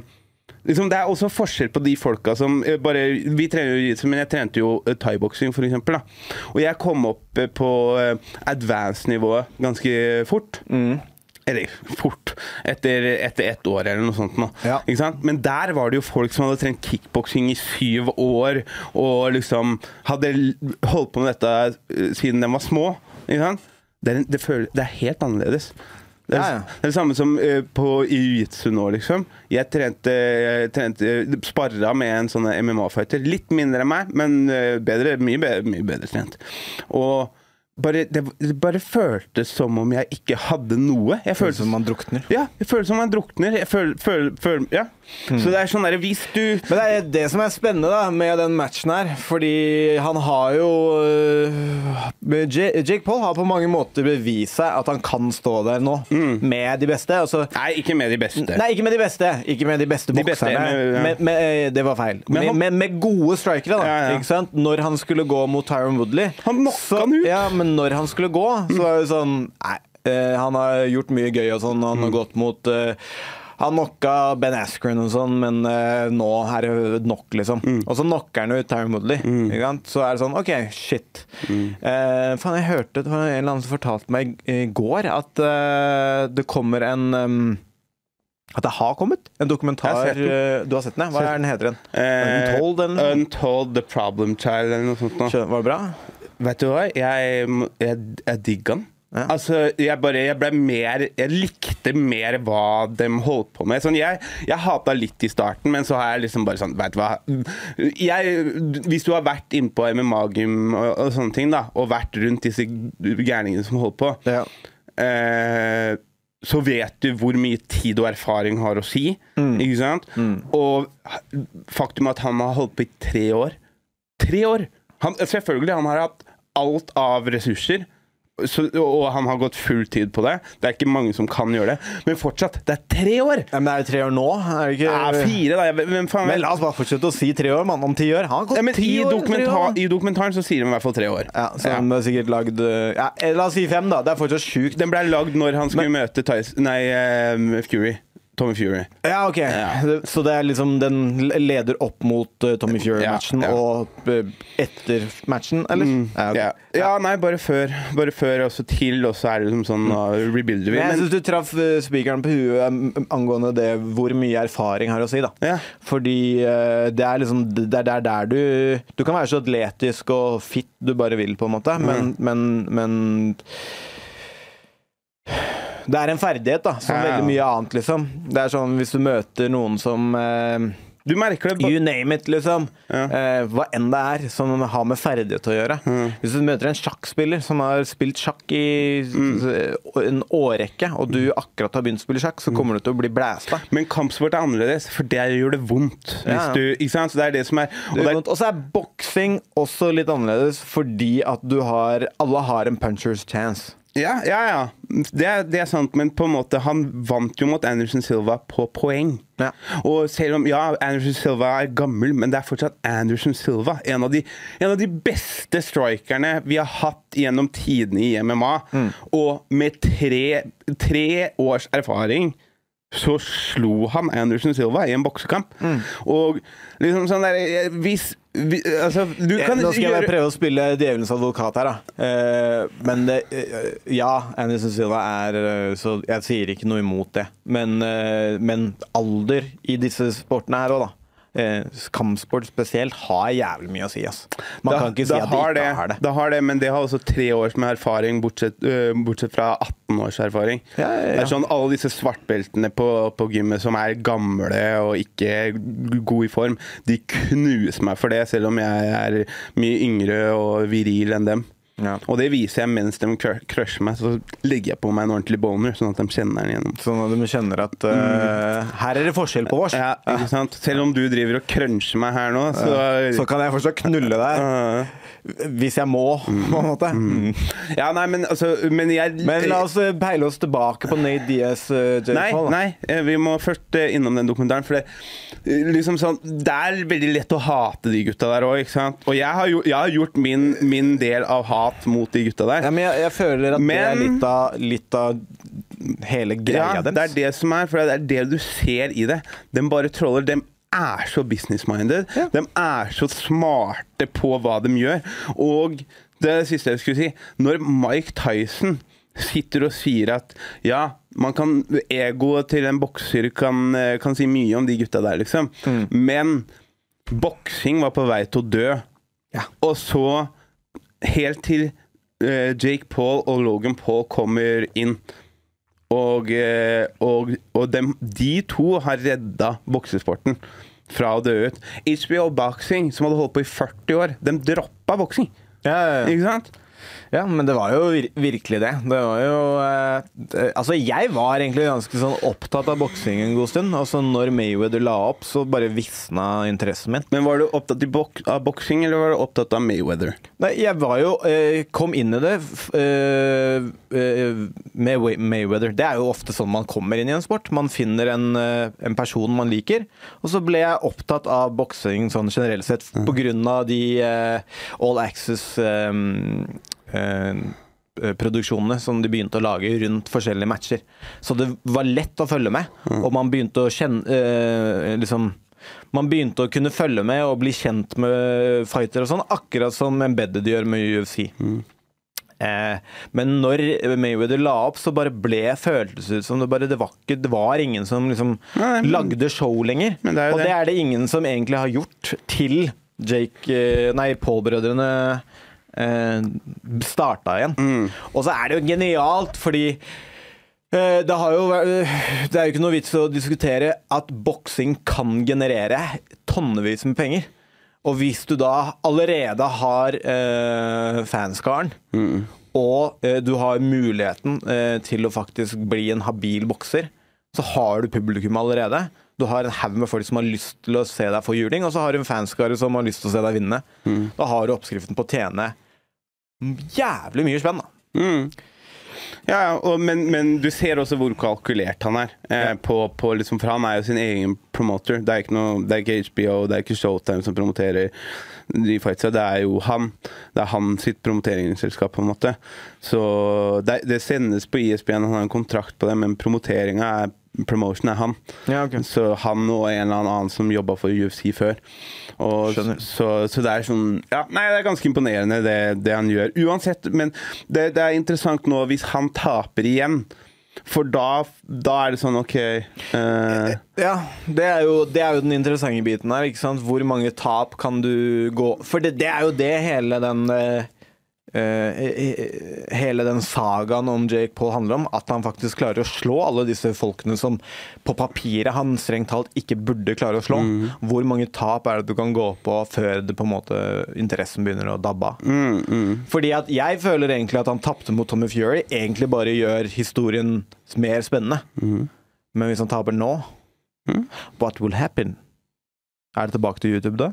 Liksom, det er også forskjell på de folka som eh, bare Vi trener jo jiu-jitsu, men jeg trente jo eh, thaiboksing, for eksempel. Da. Og jeg kom opp eh, på eh, advance-nivået ganske fort. Eller fort. Etter, etter ett år eller noe sånt. Nå. Ja. Ikke sant? Men der var det jo folk som hadde trent kickboksing i syv år, og liksom hadde l- holdt på med dette eh, siden de var små. Ikke sant? Det, er, en- det, føles, det er helt annerledes. Det er, Ja, ja. det er det samme som eh, på i jiu-jitsu nå, liksom. Jeg trente, jeg trente eh, sparra med en sånn MMA-fighter. Litt mindre enn meg, men eh, bedre, mye, bedre, mye bedre trent. Og bare, det, det bare føltes som om jeg ikke hadde noe. Jeg Føles følte som man drukner. ja, jeg føler som om jeg drukner. Jeg føler, føler, føler ja. Hmm. Så det er sånn derre Hvis du Men det er det som er spennende da med den matchen her, fordi han har jo øh, J- Jake Paul har på mange måter bevist seg at han kan stå der nå med de beste. Altså, Nei, ikke med de beste. nei, ikke med de beste. Ikke med de beste De bokserne. beste, ja. Med, med, eh, det var feil. Men han- med, med, med gode strikere, da. Ja, ja. Ikke sant? Når han skulle gå mot Tyron Woodley Han knocka så- han ut. Ja, men når han skulle gå, så var det sånn Nei, Eh, han har gjort mye gøy og sånn. Han Mm. har gått mot eh, Han knocka Ben Askren og sånn, men eh, nå er det nok, liksom. Mm. Og så knocker han ut Tyre Moodley. Ikke sant? Så er det sånn OK, shit. Mm. Eh, faen, jeg hørte det var en eller annen som fortalte meg i går at eh, det kommer en em, at det har kommet en Jeg dokumentar har sett den. eh, Du har sett den, ja? Hva er den heter den? Eh, Untold, eller? Untold The Problem Child eller noe sånt. Nå. Skjønner- Var det bra? Vet du hva? Jeg, jeg, jeg digga den. Ja. Altså, jeg bare Jeg ble mer Jeg likte mer hva de holdt på med. Sånn, jeg jeg hata litt i starten, men så har jeg liksom bare sånn Vet du hva jeg, Hvis du har vært innpå MMA-gym og, og sånne ting, da, og vært rundt disse gærningene som holder på, Ja. eh, så vet du hvor mye tid og erfaring har å si. Mm. Ikke sant? Og faktum at han har holdt på i tre år. Tre år! Han, selvfølgelig, han har hatt alt av ressurser. Så, og han har gått full tid på det. Det er ikke mange som kan gjøre det. Men fortsatt, det er tre år! Ja, men det er jo tre år nå, er det ikke? Ja, fire, da. Jeg vet- Hvem faen Men vet? la oss bare fortsette å si tre år, mann. Om ti år. Han har gått Ja, men ti i, år. dokumentar, tre år. I dokumentaren så sier de i hvert fall tre år. Ja, så han har sikkert lagd eh, ja, eh, La oss si fem, da. Det er fortsatt sjukt. Den ble lagd når han skulle møte Tyson Nei, eh, Fury. Tommy Fury. Ja, ok. Det- Så det er liksom den leder opp mot eh, Tommy Fury-matchen Ja, ja. og eh, etter matchen, eller? Mm. Ja, ok. Ja. ja, nei, bare før. Bare før og så til, og så er det liksom sånn Mm. Nå rebuilder vi. Men jeg Men syns du traff eh, spikeren på huet eh, angående det hvor mye erfaring har å si. da. Ja. Fordi eh, det er liksom det er der, der du Du kan være så atletisk og fit du bare vil, på en måte, Mm. men, men, men Det er en ferdighet, da, som Ja, ja. veldig mye annet, liksom. Det er sånn hvis du møter noen som eh, du merker det ba- You name it, liksom. Ja. Eh, hva enn det er som har med ferdighet å gjøre. Mm. Hvis du møter en sjakkspiller som har spilt sjakk i Mm. s- en årrekke, og du akkurat har begynt å spille Mm. sjakk, så kommer du til å bli blæsta. Men kampsport er annerledes, for der gjør det vondt. Hvis Ja. du, ikke sant? Så det er det som er og Det det er er- vondt. Og så er boksing også litt annerledes, fordi at du har Alle har en punchers chance. Ja, ja. ja. Det, er, det er sant, men på en måte han vant jo mot Anderson Silva på poeng. Ja. Og selv om ja, Anderson Silva er gammel, men det er fortsatt Anderson Silva. En av de, en av de beste strikerne vi har hatt gjennom tidene i MMA. Mm. Og med tre, tre års erfaring så slo han Anderson Silva i en boksekamp. Mm. Og liksom sånn der eh, Hvis vi, Altså, du Eh, kan Nå skal jeg bare gjøre- prøve å spille djevelens advokat her, da. Eh, men det, eh, ja, Anderson Silva er eh, Så jeg sier ikke noe imot det. Men, eh, men alder i disse sportene her òg, da. Eh, kampsport spesielt har jævlig mye å si, ass. Man kan ikke si at de har ikke har det. Da har det, men det har også tre års med erfaring, bortsett, øh, bortsett fra 18 års erfaring. Ja, ja, ja. Det er sånn alle disse svartbeltene på, på gymmet som er gamle og ikke gode i form, de knuser meg for det, selv om jeg er mye yngre og viril enn dem. Ja. Og det viser jeg mens de cr- crusher meg, så legger jeg på meg en ordentlig boner, sånn at de kjenner den igjennom. Sånn at de kjenner at eh, her er det forskjell på oss. Mm. Ja, ikke sant? Selv om du driver og cruncher meg her nå, så, Eh, Så kan jeg fortsatt knulle deg. Øh. Hvis jeg må, på en måte. Mm. Ja, nei, men altså Men jeg Men la oss eh, peile oss tilbake på Nate Diaz. eh, Jake Nei, Paul, da. nei, eh, vi må først eh, innom den dokumentaren. For det, eh, liksom sånn, det er veldig lett å hate de gutta der òg. Og jeg har, jo, jeg har gjort min, min del av hat mot de gutta der. Ja, men jeg, jeg føler at det er Men- litt av, litt av hele greia Ja, deres. det er det som er, for det er det du ser i det. De bare troller. De er så business-minded. De er så smarte på hva de gjør. Og det siste jeg skulle si, når Mike Tyson sitter og sier at ja, man kan, egoet til en bokser kan, eh, kan si mye om de gutta der, liksom. Men boksing var på vei til å dø. Og så helt til eh, Jake Paul og Logan Paul kommer inn. Og, eh, og, og dem, de to har redda boksesporten fra å dø ut. HBO Boxing, som hadde holdt på i 40 år, de droppa boksing. Ja, ja, Ikke sant? ja. ja, men det var jo vir virkelig det. Det var jo eh, det- Altså, jeg var egentlig ganske sånn opptatt av boksing en god stund. Og så når Mayweather la opp, så bare visna interessen min. Men var du opptatt i bok av boksing, eller var du opptatt av Mayweather? Nei, jeg var jo eh, Kom inn i det f- eh, eh, med Way- Mayweather. Det er jo ofte sånn man kommer inn i en sport. Man finner en, eh, en person man liker. Og så ble jeg opptatt av boksing sånn generelt sett pga. de eh, All Access eh, eh, produksjonene som de begynte å lage rundt forskjellige matcher. Så det var lett å følge med, Mm. og man begynte å kjenne eh, liksom, Man begynte å kunne følge med og bli kjent med fighter og sånn, akkurat som Embedded gjør med UFC. Mm. Eh, men når Mayweather la opp, så bare ble føltes ut som det bare Det var, ikke, det var ingen som liksom Nei, men- lagde show lenger. Men det er jo og det. det. er det ingen som egentlig har gjort til Jake eh, Nei, Paul-brødrene eh, starta igjen. Mm. Og så er det jo genialt, fordi eh, det, har jo, vært- det er jo ikke noe vits å diskutere at boksing kan generere tonnevis med penger. Og hvis du da allerede har eh, fanskaren, Mm. og eh, du har muligheten eh, til å faktisk bli en habil bokser, så har du publikum allerede. Du har en haug med folk som har lyst til å se deg få juling, og så har du en fanskare som har lyst til å se deg vinne. Da har du oppskriften på å tjene jævlig mye spenn, da. Ja, ja, og, men, men du ser også hvor kalkulert han er. Eh, på, på liksom, for han er jo sin egen promoter. Det er ikke, noe, det er ikke HBO, det er ikke Showtime som promoterer de fightsa. Det er jo han. Det er han sitt promoteringsselskap, på en måte. Så det, det sendes på E ISBN, han har en kontrakt på det, men promoteringa er Promotion er han. Ja, ok. Så han og en eller annen som jobba for UFC før. Og Skjønner. så, så det er sånn ja, Nei, det er ganske imponerende, det, det han gjør. Uansett, men det, det er interessant nå hvis han taper igjen. For da, da er det sånn OK eh, Ja, det er, jo, det er jo den interessante biten her. ikke sant? Hvor mange tap kan du gå For det, det er jo det hele den eh, eh, Hele den sagaen om Jake Paul handler om. At han faktisk klarer å slå alle disse folkene som på papiret han strengt talt ikke burde klare å slå. Hvor mange tap er det du kan gå på før det på en måte interessen begynner å dabbe av? Fordi at jeg føler egentlig at han tapte mot Tommy Fury, egentlig bare gjør historien mer spennende. mhm. Men hvis han taper nå Mm. What will happen? Er det tilbake til YouTube, da?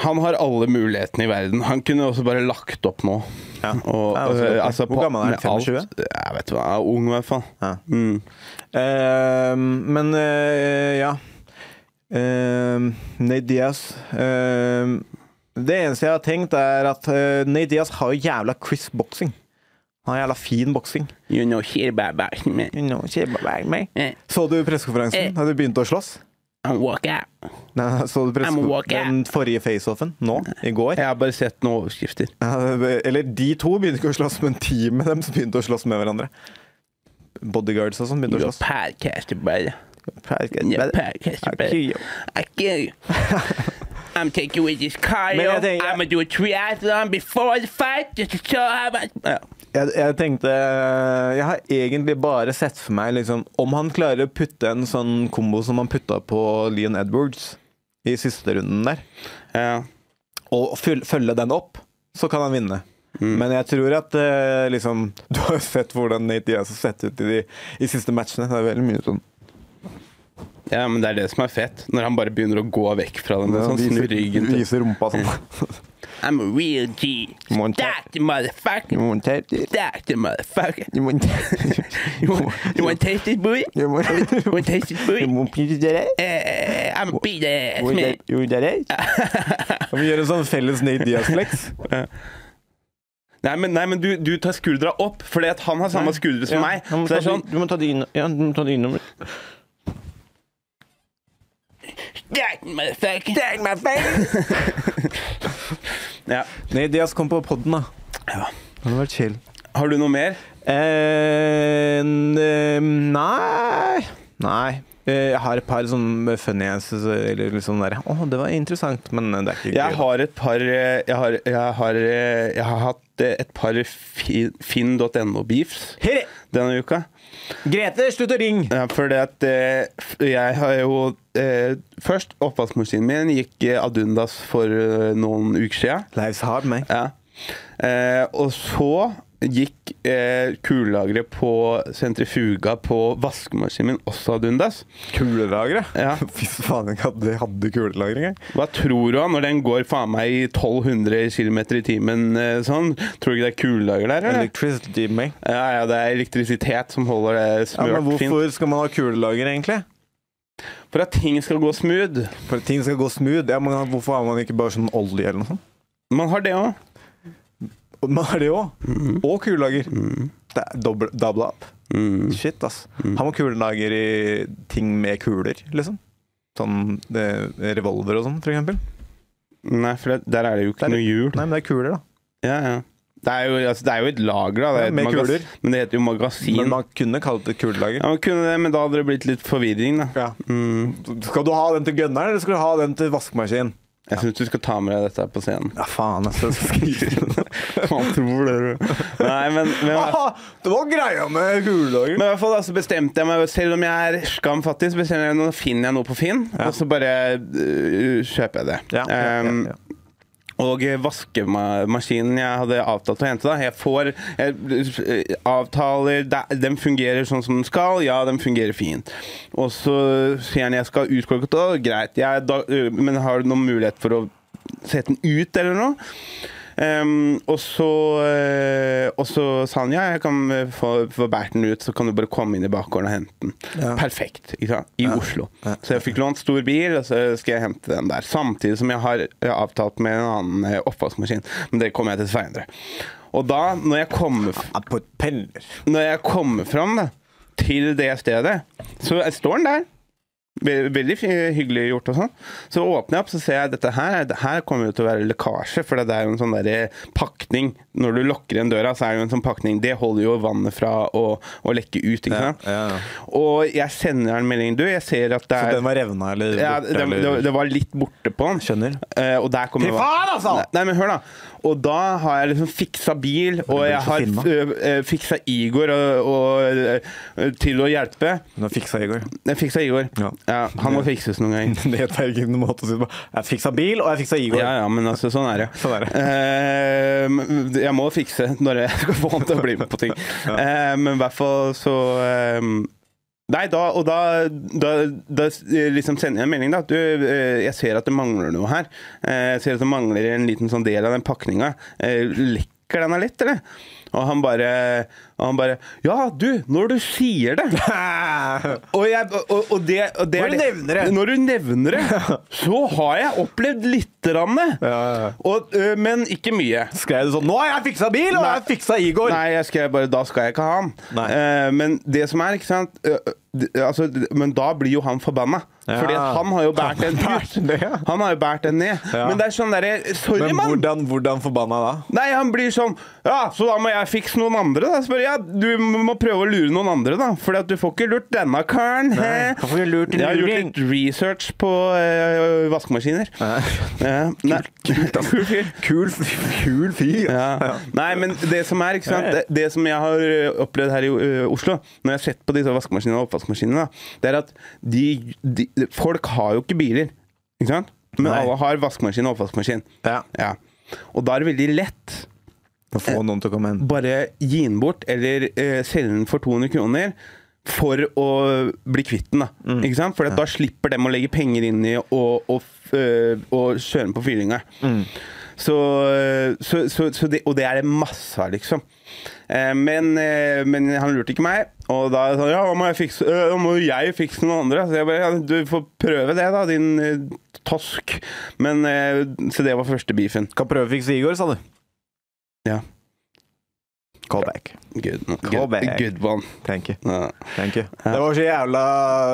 Han har alle mulighetene i verden. Han kunne også bare lagt opp nå. Ja. Og, Ja, altså, eh, Hvor på- gammel er han? med alt- 25? Jeg vet hva, han er ung i hvert fall. Ja. Mm. Eh, men eh, ja uh, Nate Diaz eh, Det eneste jeg har tenkt, er at eh, Nate Diaz har jo jævla crisp boksing. Han har jævla fin boksing. You know, here, baby, me, You know, she bang me. eh, Så du pressekonferansen da de begynte å slåss? and walk out. Nei, så du I'm a pressekonferansen walker. den forrige faceoffen? Nå? I går? Jeg har bare sett noen overskrifter. Ja, Eller de to begynte ikke å slåss, men teamet deres begynte å slåss med hverandre. Bodyguards og sånn begynte å Your slåss. podcast, brother. Your Men podcast, I brother. kill you. I kill you. I'm taking with this Men cardio. jeg tenker- I'm gonna do a triathlon before the fight just to show how much ja. Jeg, jeg tenkte Jeg har egentlig bare sett for meg liksom, om han klarer å putte en sånn kombo som han putta på Leon Edwards i siste runden der, Ja. og fyl- følge den opp, så kan han vinne. Mm. Men jeg tror at eh, liksom Du har jo sett hvordan Nate Diaz har sett ut i de i siste matchene. Det er veldig mye sånn ja, men det er det som er fett. Når han bare begynner å gå vekk fra dem. sånn snur ryggen til viser rumpa sånn. I'm a real G. Må han ta- Start the motherfucker. You want to tape this? Start the motherfucker. You want You want, you want to taste this booty? You You want want to taste this You booty? want piece of that? Eh, I'm a beat ass You want man. that- you want that? Kan vi gjøre en sånn felles Nate Diaz-flex? Nei, men, nei, men du, du tar skuldra opp, fordi at han har samme skuldre som meg. Ja, Så det er sånn du må ta det inn- ja, du må ta det innom. Start the motherfucker. Start my ja. Nate Diaz kom på podden, da. Ja. Han har vært chill. Har du noe mer? Eh, n- nei Nei. Eh, Jeg har et par sånne funny answers, eller litt sånn derre Å, det var interessant, men det er ikke Jeg gøy. har et par eh, Jeg har, jeg har, eh, jeg har hatt eh, et par fi- finn.no-beefs Hei, denne uka. Grete, slutt å ringe! Ja, fordi at eh, f- jeg har jo eh, Først, oppvaskmaskinen min gikk eh, ad undas for eh, noen uker sia. Life's hard, man. Ja. Eh, og så gikk eh, kullageret på sentrifuga på vaskemaskinen min også ad undas. Kulelagre? Ja. Fy faen, jeg hadde, jeg hadde kulelagre engang. Hva tror du av når den går faen meg i 1200 km i timen eh, sånn? Tror du ikke det er kullager der? Eller? Electricity, man. Ja, ja, det er elektrisitet som holder det Ja, men smørt fint. hvorfor skal man ha kulelager, egentlig? For at ting skal gå smooth. For at ting skal gå smooth. Ja, men hvorfor har man ikke bare sånn olje eller noe sånt? Man har det òg. Og men er det òg. Mm. Og kulelager. Det er double, double up. Mm. Shit, ass. Han må kulelager i ting med kuler, liksom. Sånn eh, revolver og sånn, for eksempel. Nei, for det, der er det jo Det ikke er- noe hjul. Nei, men det er kuler, da. Ja, ja. Det er, jo, altså, det er jo et lager, da. Det Ja, er et med magas- kuler. Men det heter jo magasin. Men man kunne kalt det kulelager. ja, Mm. man kunne det, men da hadde det blitt litt forvirring, da. Ja. Skal du ha den til gunneren, eller skal du ha den til vaskemaskin? Jeg syns du skal ta med deg dette her på scenen. Ja, faen, altså. Man tror det, du. Nei, men, men, men Ah, det var greia med kulelager. i hvert fall da, så bestemte jeg meg, selv om jeg er skam fattig, så bestemmer jeg nå finner jeg noe på Finn, og så bare øh, kjøper jeg det. Ja, ja, ja, Ehm, ja. Og vaskemaskinen jeg hadde avtalt å hente, da. Jeg får jeg, avtaler det- Den fungerer sånn som den skal. Ja, den fungerer fint. Og så sier han jeg skal ha utkorket. Å, greit. Jeg, da, ø, men har du noen mulighet for å sette den ut, eller noe? Ehm, og, så, eh, og så sa han ja, jeg kan eh, få, få båret den ut, så kan du bare komme inn i bakgården og hente den. Perfekt. Ikke sant? I Oslo. Så jeg fikk lånt stor bil, og så skal jeg hente den der. Samtidig som jeg har eh, avtalt med en annen eh, oppvaskmaskin. Men det kommer jeg til seinere. Og da, når jeg kommer f- Ja, på et penner. når jeg kommer fram da, til det stedet, så står den der. Ve- Veldig fi- hyggelig gjort og sånn. Så åpner jeg opp, så ser jeg dette her. er- Det her kommer jo til å være lekkasje, for det er jo en sånn derre pakning. Når du lukker igjen døra, så er det jo en sånn pakning. Det holder jo vannet fra å, å lekke ut, ikke sant. ja, ja. Og jeg sender en melding. Du, jeg ser at det Så er den var revna, eller? ja, borte, det, eller- det, det var litt borte på den. Skjønner. Eh, og der kommer Fy faen, altså! Nei, nei, men hør, da. Og da har jeg liksom fiksa bil, og blir jeg så har filma. eh, eh, fiksa Igor og, og, eh, til å hjelpe. Nå fiksa Igor. Jeg fiksa Igor. Ja. han må fikses noen gang. Det heter ikke noen måte å si det på. Jeg fiksa bil, og jeg fiksa Igor. Ja, ja, men altså, sånn er det. Sånn er det. Eh, jeg må fikse når jeg skal få han til å bli med på ting. Eh, men i hvert fall så eh, Nei, da, og da, da, da eh, liksom sender jeg en melding, da. Du, eh, jeg ser at det mangler noe her. Eh, Jeg ser at det mangler en liten sånn del av den pakninga. Eh, Lekker den her litt, eller? Og han bare, og han bare Ja, du, når du sier det! Og, jeg, og, og det, og det Når er du nevner det. Når du nevner det, så har jeg opplevd lite grann. ja, ja. Og, ø, men ikke mye. Skrev du sånn 'Nå har jeg fiksa bil, og Nei. jeg fiksa Igor'? Nei, jeg skrev bare 'da skal jeg ikke ha han'. Nei. Eh, men det som er, ikke sant ø, ø, d- altså, d- Men da blir jo han forbanna. Ja. Fordi at han har jo båret den Han har bært den ned. ut. Han har jo båret den ned. Ja. Men det er sånn derre Sorry, Men mann! hvordan, hvordan forbanna da? Nei, han blir sånn Ja, så da må jeg fikse noen andre, da. Så bare, ja, du må prøve å lure noen andre, da. For du får ikke lurt denne karen. Nei, da får vi lurt en jeg har luring. gjort litt research på eh, vaskemaskiner. Ja, nei. Kul fyr. Kul, kul fyr. Ja. Nei, men det som er, ikke sant det, det som jeg har ø, opplevd her i ø, Oslo, når jeg har sett på disse vaskemaskinene og oppvaskmaskinene, da, det er at de, de, folk har jo ikke biler. Ikke sant? Men Nei. alle har vaskemaskin og oppvaskmaskin. Ja. Ja. Og da er det veldig lett Å få noen til å komme inn. bare gi den bort, eller eh, selge den for 200 kroner. For å bli kvitt den, da. Ikke sant? For at da slipper dem å legge penger inn i og, og, f- eh, og kjøre den på fyllinga. Mm. Så, eh, så, så, så det, og det er det masse av, liksom. Eh, men, eh, men han lurte ikke meg. Og da sa han ja, da må jeg fikse, øh, da må jo jeg fikse noen andre. Så jeg bare ja, du får prøve det, da, din eh, tosk. Men eh, Så det var første beefen. Kan prøve å fikse Igor, sa du. Ja. Callback. Good, good, Callback. good one. Thank you. Ja. Thank you. Det var så jævla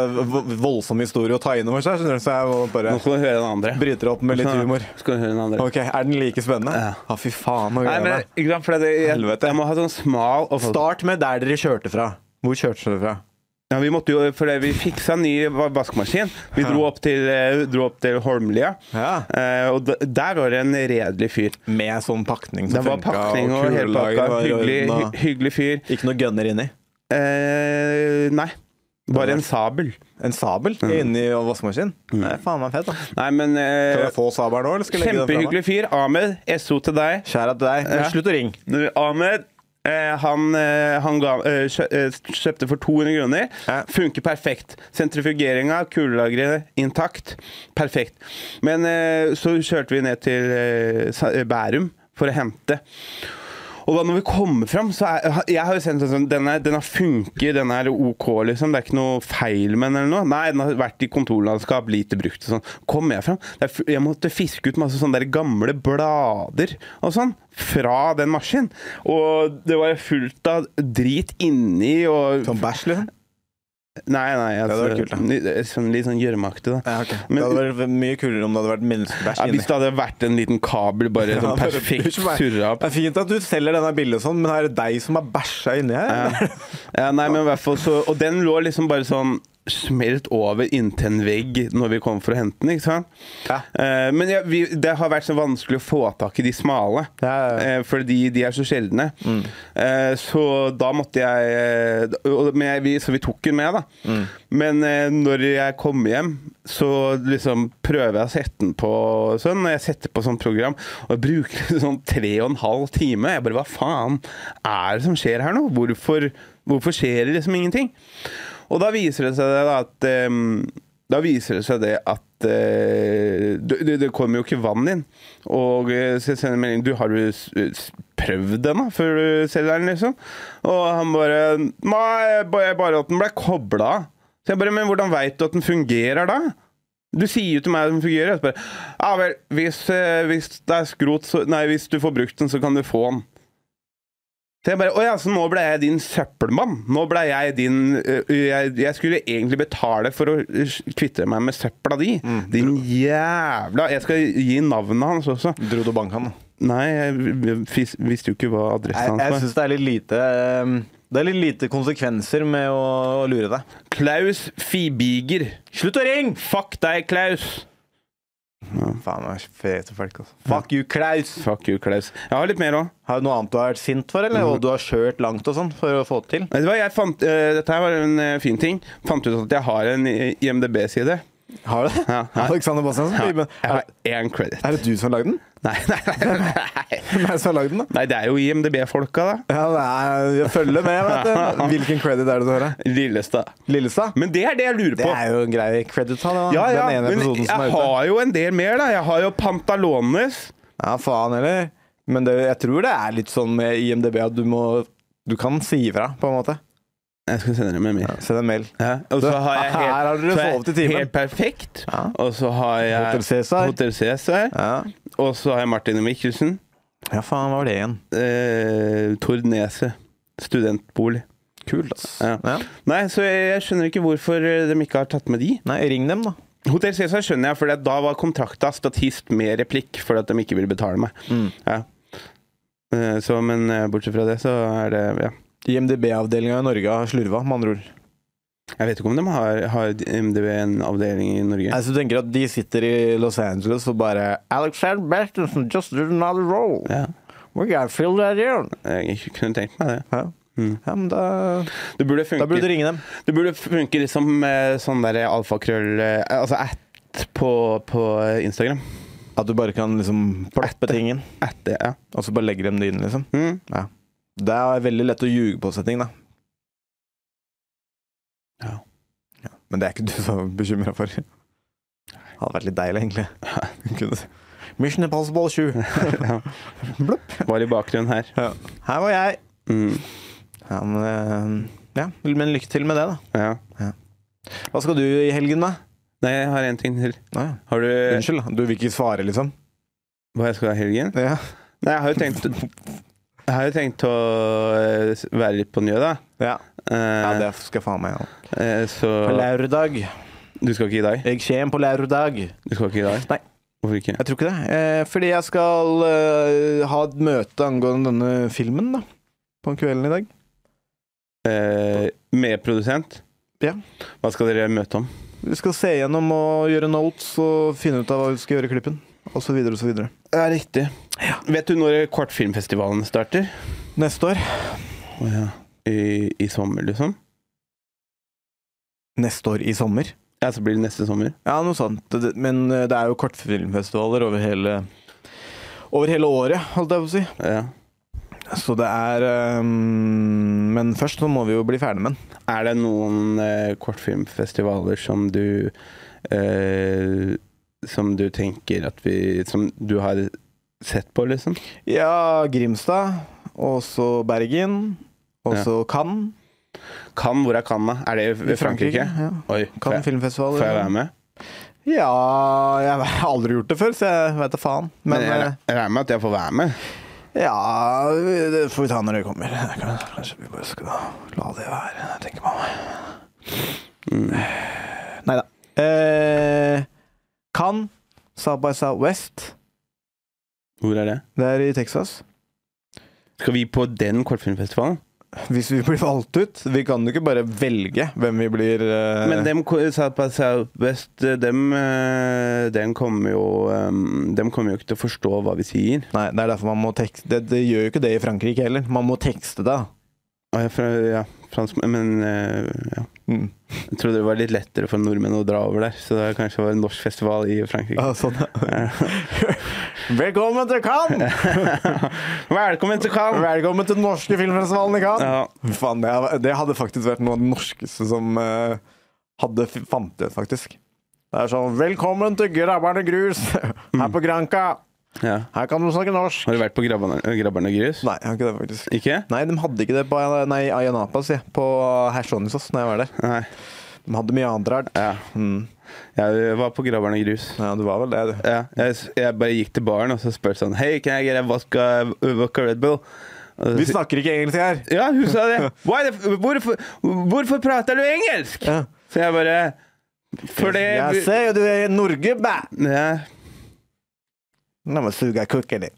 vo- voldsom historie å ta inn over seg, skjønner du, så jeg må bare Nå skal du høre den andre. bryter opp med litt humor. Skal du høre den andre. Ok, Er den like spennende? Ja. Ja, fy faen. Nå Nei, gjør men jeg det. ikke sant, for det, jeg, Helvete. jeg må ha sånn smal og Start med der dere kjørte fra. Hvor kjørte dere fra? ja, Vi måtte jo, for det, vi fiksa en ny va- vaskemaskin. Vi dro opp til, eh, dro opp til Holmlia. Ja. Eh, og d- der var det en redelig fyr. Med sånn pakning Det som var funka, pakning og hele pakka. var i Hyggelig, orden, hy, hyggelig fyr. og Ikke noe gunner inni. Eh, nei. Bare en sabel. En sabel inni vaskemaskinen. Det er faen meg fett, da. Mm. Nei, men Skal eh, jeg få sabelen nå, eller skal jeg legge den fra meg? Kjempehyggelig fyr. Ahmed, SO til deg. Kjære til deg. Ja. Slutt å ringe. Du, Ahmed eh, han, eh, han ga, eh, kjø, eh, kjøpte for 200 kroner. Ja. Funker perfekt. Sentrifugeringa, kulelageret intakt. Perfekt. Men eh, så kjørte vi ned til eh, Sa- eh, Bærum for å hente. Og da når vi kommer fram, så er Jeg har jo sendt sånn sånn Den, er, den har funker, den er OK, liksom. Det er ikke noe feil med den eller noe. Nei, den har vært i kontorlandskap, lite brukt og sånn. Kommer jeg fram? Det er, f- jeg måtte fiske ut masse sånne der gamle blader og sånn. Fra den maskinen. Og det var fullt av drit inni og Som bæsj, liksom? Nei, nei. hadde Altså, vært kult, da. litt sånn- litt sånn gjørmeaktig, da. Ja, ok. Men- det hadde vært mye kulere om det hadde vært menneskebæsj Ja, inni. hvis det hadde vært en liten kabel bare Ja, sånn bare- perfekt Unnskyld meg. surra opp. Det er fint at du selger denne bildet sånn, men er det deg som har bæsja inni her? Ja. ja, nei, men i hvert fall så Og den lå liksom bare sånn smelt over inntil en vegg når vi kom for å hente den, ikke sant? Ja. Eh, men ja, vi, det har vært så vanskelig å få tak i de smale, Ja, ja, ja. eh, fordi de er så sjeldne. Eh, så da måtte jeg, eh, og, men jeg vi, Så vi tok den med, da. Men eh, når jeg kommer hjem, så liksom prøver jeg å sette den på sånn. Når jeg setter på sånn program og jeg bruker sånn tre og en halv time Jeg bare Hva faen er det som skjer her nå? Hvorfor, hvorfor skjer det liksom ingenting? Og da viser det seg det da at ehm, Da viser det seg det at eh, det, det- det kommer jo ikke vann inn. Og eh, så jeg sender en melding Du, har du s- s- prøvd den da, før du selger den, liksom? Og han bare Nei, jeg ba- jeg bare at den ble kobla av. Så jeg bare Men hvordan veit du at den fungerer da? Du sier jo til meg at den fungerer. Og så bare Ja vel, hvis, eh, hvis det er skrot, så Nei, hvis du får brukt den, så kan du få den. Så jeg bare, «Å ja, så nå ble jeg din søppelmann. Nå ble jeg din ø, ø, jeg, jeg skulle egentlig betale for å ø, kvitte meg med søpla di. Din jævla Jeg skal gi navnet hans også. Dro du og banka han? Nei, jeg vis, visste jo ikke hva Jeg, adressen jeg hans var. syns det er litt lite ehm, eh, Det er litt lite konsekvenser med å, å lure deg. Klaus Fibiger. Slutt å ringe! Fuck deg, Klaus! Faen, det er fete folk, altså. Fuck you, Klaus! Fuck you, Klaus. Jeg har litt mer òg. Har du noe annet du har vært sint for, eller? Og du har kjørt langt og sånn for å få det til? Vet du hva, jeg fant, ø, dette her var en ø, fin ting. Fant ut at jeg har en IMDb-side. Har du det? Ja, ja. Alexander Bastiansen? Ja, men jeg er, har én credit. er det du som har lagd den? Nei, nei, nei. nei. Hvem er det som har lagd den, da? Nei, det er jo IMDb-folka, da. Ja, det er, jeg følger med, vet du. Hvilken credit er det du har? da? Lillestad. Lillestad? Men det er det jeg lurer Det på. er jo en grei credit, han. da. Ja, ja, Den ene men episoden som jeg er ute. har jo en del mer, da. Jeg har jo Pantalones. Ja, faen heller. Men det, jeg tror det er litt sånn med IMDb at du må Du kan si ifra, på en måte. Jeg skal sende dem med mer. Send en mail. Ja. Og så har jeg helt, Her har dere så er jeg fått i timen. helt perfekt. Ja. Og så har jeg Hotel Cæsar. Hotel Cæsar. Ja. Og så har jeg Martin Mikkelsen. ja, faen, hva var det igjen? Eh, Tord Neset. Studentbolig. Kult, ass. Ja. Ja. Nei, så jeg, jeg skjønner ikke hvorfor eh, de ikke har tatt med de. Nei, ring dem, da. Hotel Cæsar skjønner jeg, for da var kontrakta statist med replikk fordi at de ikke ville betale meg. Mm. Ja. Eh, Så, men eh, bortsett fra det, så er det ja. IMDb-avdelinga i Norge har slurva, med andre ord. Jeg vet ikke om de har, har MDV en avdeling i Norge. Nei, så Altså, du tenker at de sitter i Los Angeles og bare Alexander Bertelsen just did another role. Ja, We gotta fill that in. jeg kunne tenkt meg det. Ja. Mm. ja, men da, Det burde funke, da burde du ringe dem. det burde funke litt som eh, sånn der alfakrøll eh, Altså at på, på Instagram. At du bare kan liksom plappe tingen, At det, ja. og så bare legger dem det inn, liksom. Mm. Ja. Det er veldig lett å ljuge på sånne ting, da. Ja. Ja, Men det er ikke du så bekymra for. Det hadde vært litt deilig, egentlig. Kunne si, Mission Impossible 7. ja. Var i bakgrunnen her. Her var jeg. Mm. Ja men, eh, ja, men lykke til med det, da. Ja. Hva skal du i helgen, da? Nei, jeg har en ting til. Å, ja. Har du Unnskyld, da. du vil ikke svare, liksom? hva jeg skal ha i helgen? Ja. Nei, jeg har jo tenkt Jeg har jo tenkt å eh, s- være litt på njø, da. Ja, ja Eh, det skal jeg faen meg ha. eh, så På lørdag. Du skal ikke i dag? Jeg kommer på lørdag. Du skal ikke i dag? Nei. Hvorfor ikke? Jeg tror ikke det. Eh, fordi jeg skal eh, ha et møte angående denne filmen, da. På kvelden i dag. Eh, Medprodusent? Ja. Hva skal dere møte om? Vi skal se gjennom og gjøre notes og finne ut av hva vi skal gjøre i klippen. Og så videre og så videre. Ja, riktig. Vet du når kortfilmfestivalen starter? Neste år. Å ja. I, I sommer, liksom? Neste år i sommer. Ja, så blir det neste sommer. Ja, noe sånt. Det- det- Men eh, det er jo kortfilmfestivaler over hele over hele året, holdt jeg på å si. Ja. Så det er eh, Men først så må vi jo bli ferdig med den. Er det noen eh, kortfilmfestivaler som du eh, Som du tenker at vi Som du har sett på, liksom? Ja, Grimstad og så Bergen, og så Cannes. Cannes, hvor er Cannes? da? Er det i Frankrike? ja. Oi, får Cannes jeg, filmfestival. får jeg være med? Ja Jeg har aldri gjort det før, så jeg vet da faen. Men, Men eh, jeg re- jeg regner med at jeg får være med. eh, ja Det får vi ta når det kommer. Kanskje vi bare skal la det være, tenker man. Mm. Nei da. Eh, Cannes, South by Southwest. Hvor er det? Det er i Texas. Skal vi på den kortfilmfestivalen? Hvis vi blir valgt ut Vi kan jo ikke bare velge hvem vi blir eh, Men dem ko- South by Southwest, dem, eh, den kommer jo eh, Dem kommer jo ikke til å forstå hva vi sier. Nei, det er derfor man må tekste det, det gjør jo ikke det i Frankrike heller. Man må tekste det. Å, jeg er fra, ja, fransk, men eh, ja. Mm. Jeg trodde det var litt lettere for nordmenn å dra over der, så det kanskje var en norsk festival i Frankrike. sånn. Velkommen til Cannes! Velkommen til Cannes! Velkommen til den norske filmfestivalen i Cannes! Ja. Faen, det, er- det hadde faktisk vært noe av det norskeste som eh, hadde f- fantes, faktisk. Det er sånn Velkommen til Grabberne Grus her på Granca! Ja. Her kan du snakke norsk! Har du vært på Grabberne Grabberne Grus? Nei, jeg har ikke det, faktisk. Ikke? Nei, de hadde ikke det på nei, Ayanapa, sier jeg. På Hersonisos, når jeg var der. Nei. De hadde mye annet rart. Ja. Mm. Jeg var på Grabberne Grus. ja, du var vel det, du. Ja, jeg, jeg bare gikk til baren og så spurte sånn Hei, kan jeg get a vodka, vodka Red Bull? Og så Vi sier- snakker ikke engelsk her. Ja, hun sa det. Why the, hvorfor, hvorfor prater du engelsk? Ja. Så jeg bare Fordi Jeg ser jo du er i Norge, bæ! ja, Nå må jeg suge kukken din.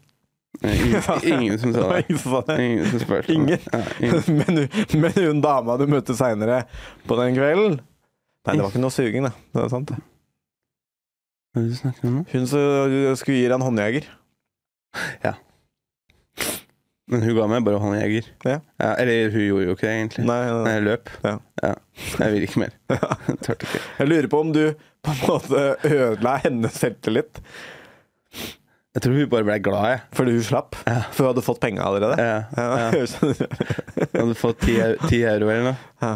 ingen, ingen som sa det. Ingen som sa det. Ingen som spurte. Ingen. Ja, ingen. Men, hun- men hun dama du møtte seinere på den kvelden Nei, det var ikke noe suging, da. Det er sant, det. Hva er det du snakker om nå? Hun som skulle gi deg en håndjeger. Men hun ga meg bare håndjeger. Ja. Ja, eller hun gjorde jo ikke det, egentlig. Nei, nei, Nei, nei. Jeg løp. Ja. Jeg vil ikke mer. Tørte ikke. Jeg lurer på om du på en måte ødela hennes selvtillit Jeg tror hun bare ble glad, jeg. fordi hun slapp. Ja. For hun hadde fått penga allerede. Ja, ja. Ja, skjønner du. Jeg hadde fått ti eu- ti euro eller noe. Ja.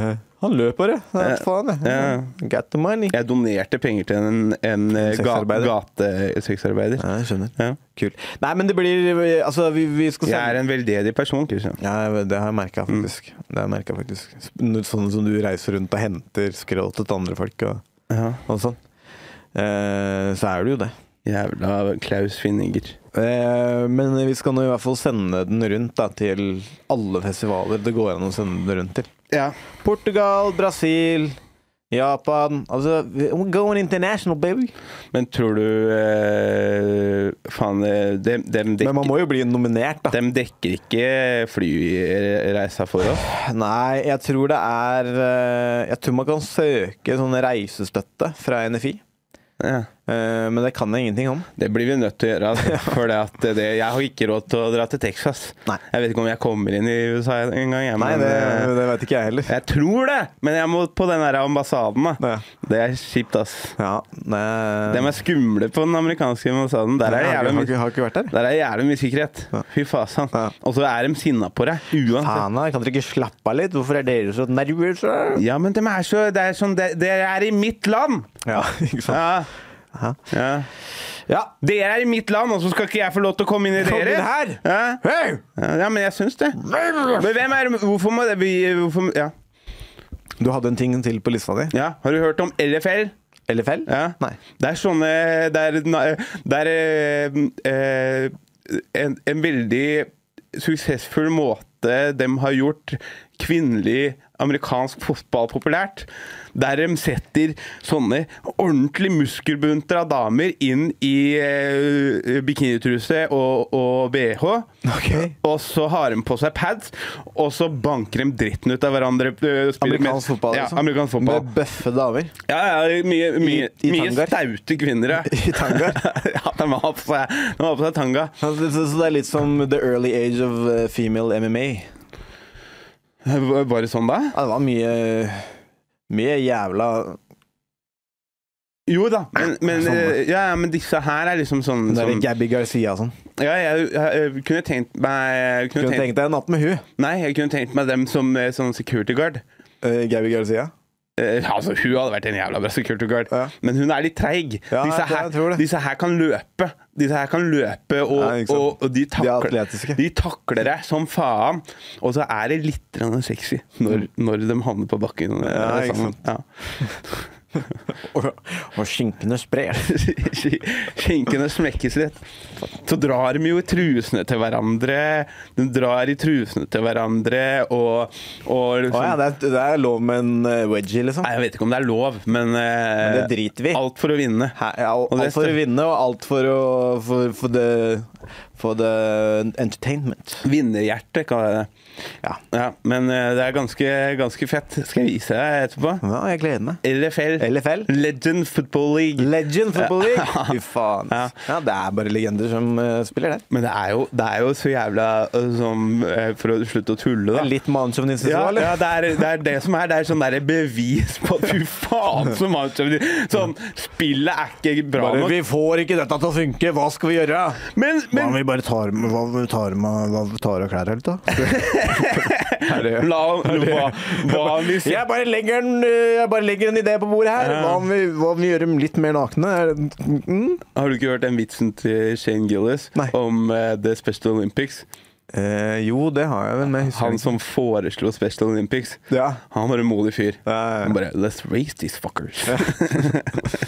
Ja. Han løp bare. Ja, Ja. faen, jeg. Ja. Got the money. Jeg donerte penger til en, en eh, ga- Sexarbeider. gatesexarbeider. Ja, jeg skjønner. Ja. Kult. Nei, men det blir Altså, vi, vi skal Jeg er en veldedig person, Kristian. Ja, det har jeg merka, faktisk. Det har jeg merket, faktisk. Sp- Sånn som du reiser rundt og henter skråt til andre folk og, Ja. og sånn. Eh, så er du jo det. Jævla Klaus Finninger. Eh, men vi skal nå i hvert fall sende den rundt da, til alle festivaler det går an å sende den rundt til. Ja. Portugal, Brasil, Japan Altså, we're going international, baby! Men tror du eh, Faen, eh, dem, dem, Men man dekker, må jo bli nominert, da. dem dekker ikke flyreisa for oss. Nei, jeg tror det er eh, Jeg tror man kan søke sånn reisestøtte fra NFI. Ja. Eh, men det kan jeg ingenting om. Det blir vi nødt til å gjøre. Altså, for det at det, jeg har ikke råd til å dra til Texas. Nei. Jeg vet ikke om jeg kommer inn i USA en gang. Jeg, Nei, men, det, eh, det vet ikke jeg heller. jeg tror det! Men jeg må på den der ambassaden. Da. Ja. Det er kjipt, ass. Ja, det, De er skumle på den amerikanske ambassaden. Der er det har, jævlig ikke- mye har ikke vært der. der er jævlig mye sikkerhet. Fy fasan. Ja. Og så er de sinna på deg. Uansett. Faen, da, kan dere ikke slappe av litt? Hvorfor er dere så nervøse? Ja, men de er så, det er sånn det- Dere er i mitt land! Ja, ikke sant? Ja. ja. Ja. Dere er i mitt land, og så skal ikke jeg få lov til å komme inn i Kom dere? inn her! Ja. Hei! Ja, men jeg syns det. Men hvem er Hvorfor må det bli hvorfor, ja. Du hadde en ting til på lista di. ja. Har du hørt om LFL? Eller fell? Ja. Nei. Det er sånne Det er, na- det er eh, eh, en, en veldig suksessfull måte de har gjort kvinnelig amerikansk fotball populært. Der de setter sånne ordentlig muskelbunter av damer inn i eh, bikinitruse og, og bh. Ok. Og så har de på seg pads, og så banker de dritten ut av hverandre. eh, spiller med- Amerikansk fotball, Ja, liksom. amerikansk fotball. Med bøffe damer. Ja, ja, mye, mye, I- i mye tangaer? staute kvinner, ja. I tangaer? ja, de har på seg, de har på seg tanga. Så, så, så Altså, det er litt som the early age of eh, female MMA. V- Var det sånn da? Ja, det var mye Mye jævla Jo da, men, men, Sånn, da. eh, ja, ja, men disse her er liksom sånn Det er som- Gabby Garcia og sånn. Ja, jeg, jeg, jeg kunne tenkt meg jeg kunne Kunne tenkt, tenkt deg en natt med hun. Nei, jeg kunne tenkt meg dem som eh, sånn security guard. Eh, Gabby Garcia. Eh, altså, hun hadde vært en jævla bra security guard, Ja. men hun er litt treig. Ja, disse, jeg- jeg tror her- det. disse her kan løpe. Disse her kan løpe, og, Ja, ikke sant. og, og de, er takler, atletiske. de takler deg som faen. Og så er det litt grann sexy når, når de havner på bakken. eh, Ja, ikke sammen. Ja. Og, og skinkene sprer. Skinkene smekkes litt. Så drar de jo i trusene til hverandre. De drar i trusene til hverandre og, og liksom Å ja, det er, det er lov med en eh, wedgie, liksom. Nei, Jeg vet ikke om det er lov, men, eh, Men det driter vi i. Alt for å vinne. Her, ja, Og det alt stø- for å vinne, og alt for å For, for, the, for the entertainment. Vinnerhjerte, kaller jeg det. Ja. Ja, men eh, det er ganske, ganske fett. Skal jeg vise deg etterpå? ja, jeg gleder meg. LFL. LFL? Legend Football League. Legend Football League! Fy faen. Ja. Ja, det er bare legender som eh, spiller der. Men det er, jo, det er jo så jævla eh, som eh, For å slutte å tulle, Det da. er litt mannssjåvinistisk Ja, òg, eller? ja det, er, det er det som er. Det er sånn der bevis på at fy faen så mange Sånn, spillet er ikke bra Bare, nok. vi får ikke dette til å funke, hva skal vi gjøre? Men, Hva om men vi bare tar med Hva om vi tar med hva om vi tar av klær her, da? Er det- la hva, hva om vi sier Jeg bare, legger en, eh, jeg bare legger en idé på bordet her. Hva om vi, hva om vi gjør dem litt mer nakne? Er det- Mm? Har du ikke hørt den vitsen til Shane Gillis Nei. om eh, The Special Olympics? Eh, jo, det har jeg vel med. Han som foreslo Special Olympics. Ja. Han var en modig fyr. ja, ja. Han bare Let's race these fuckers.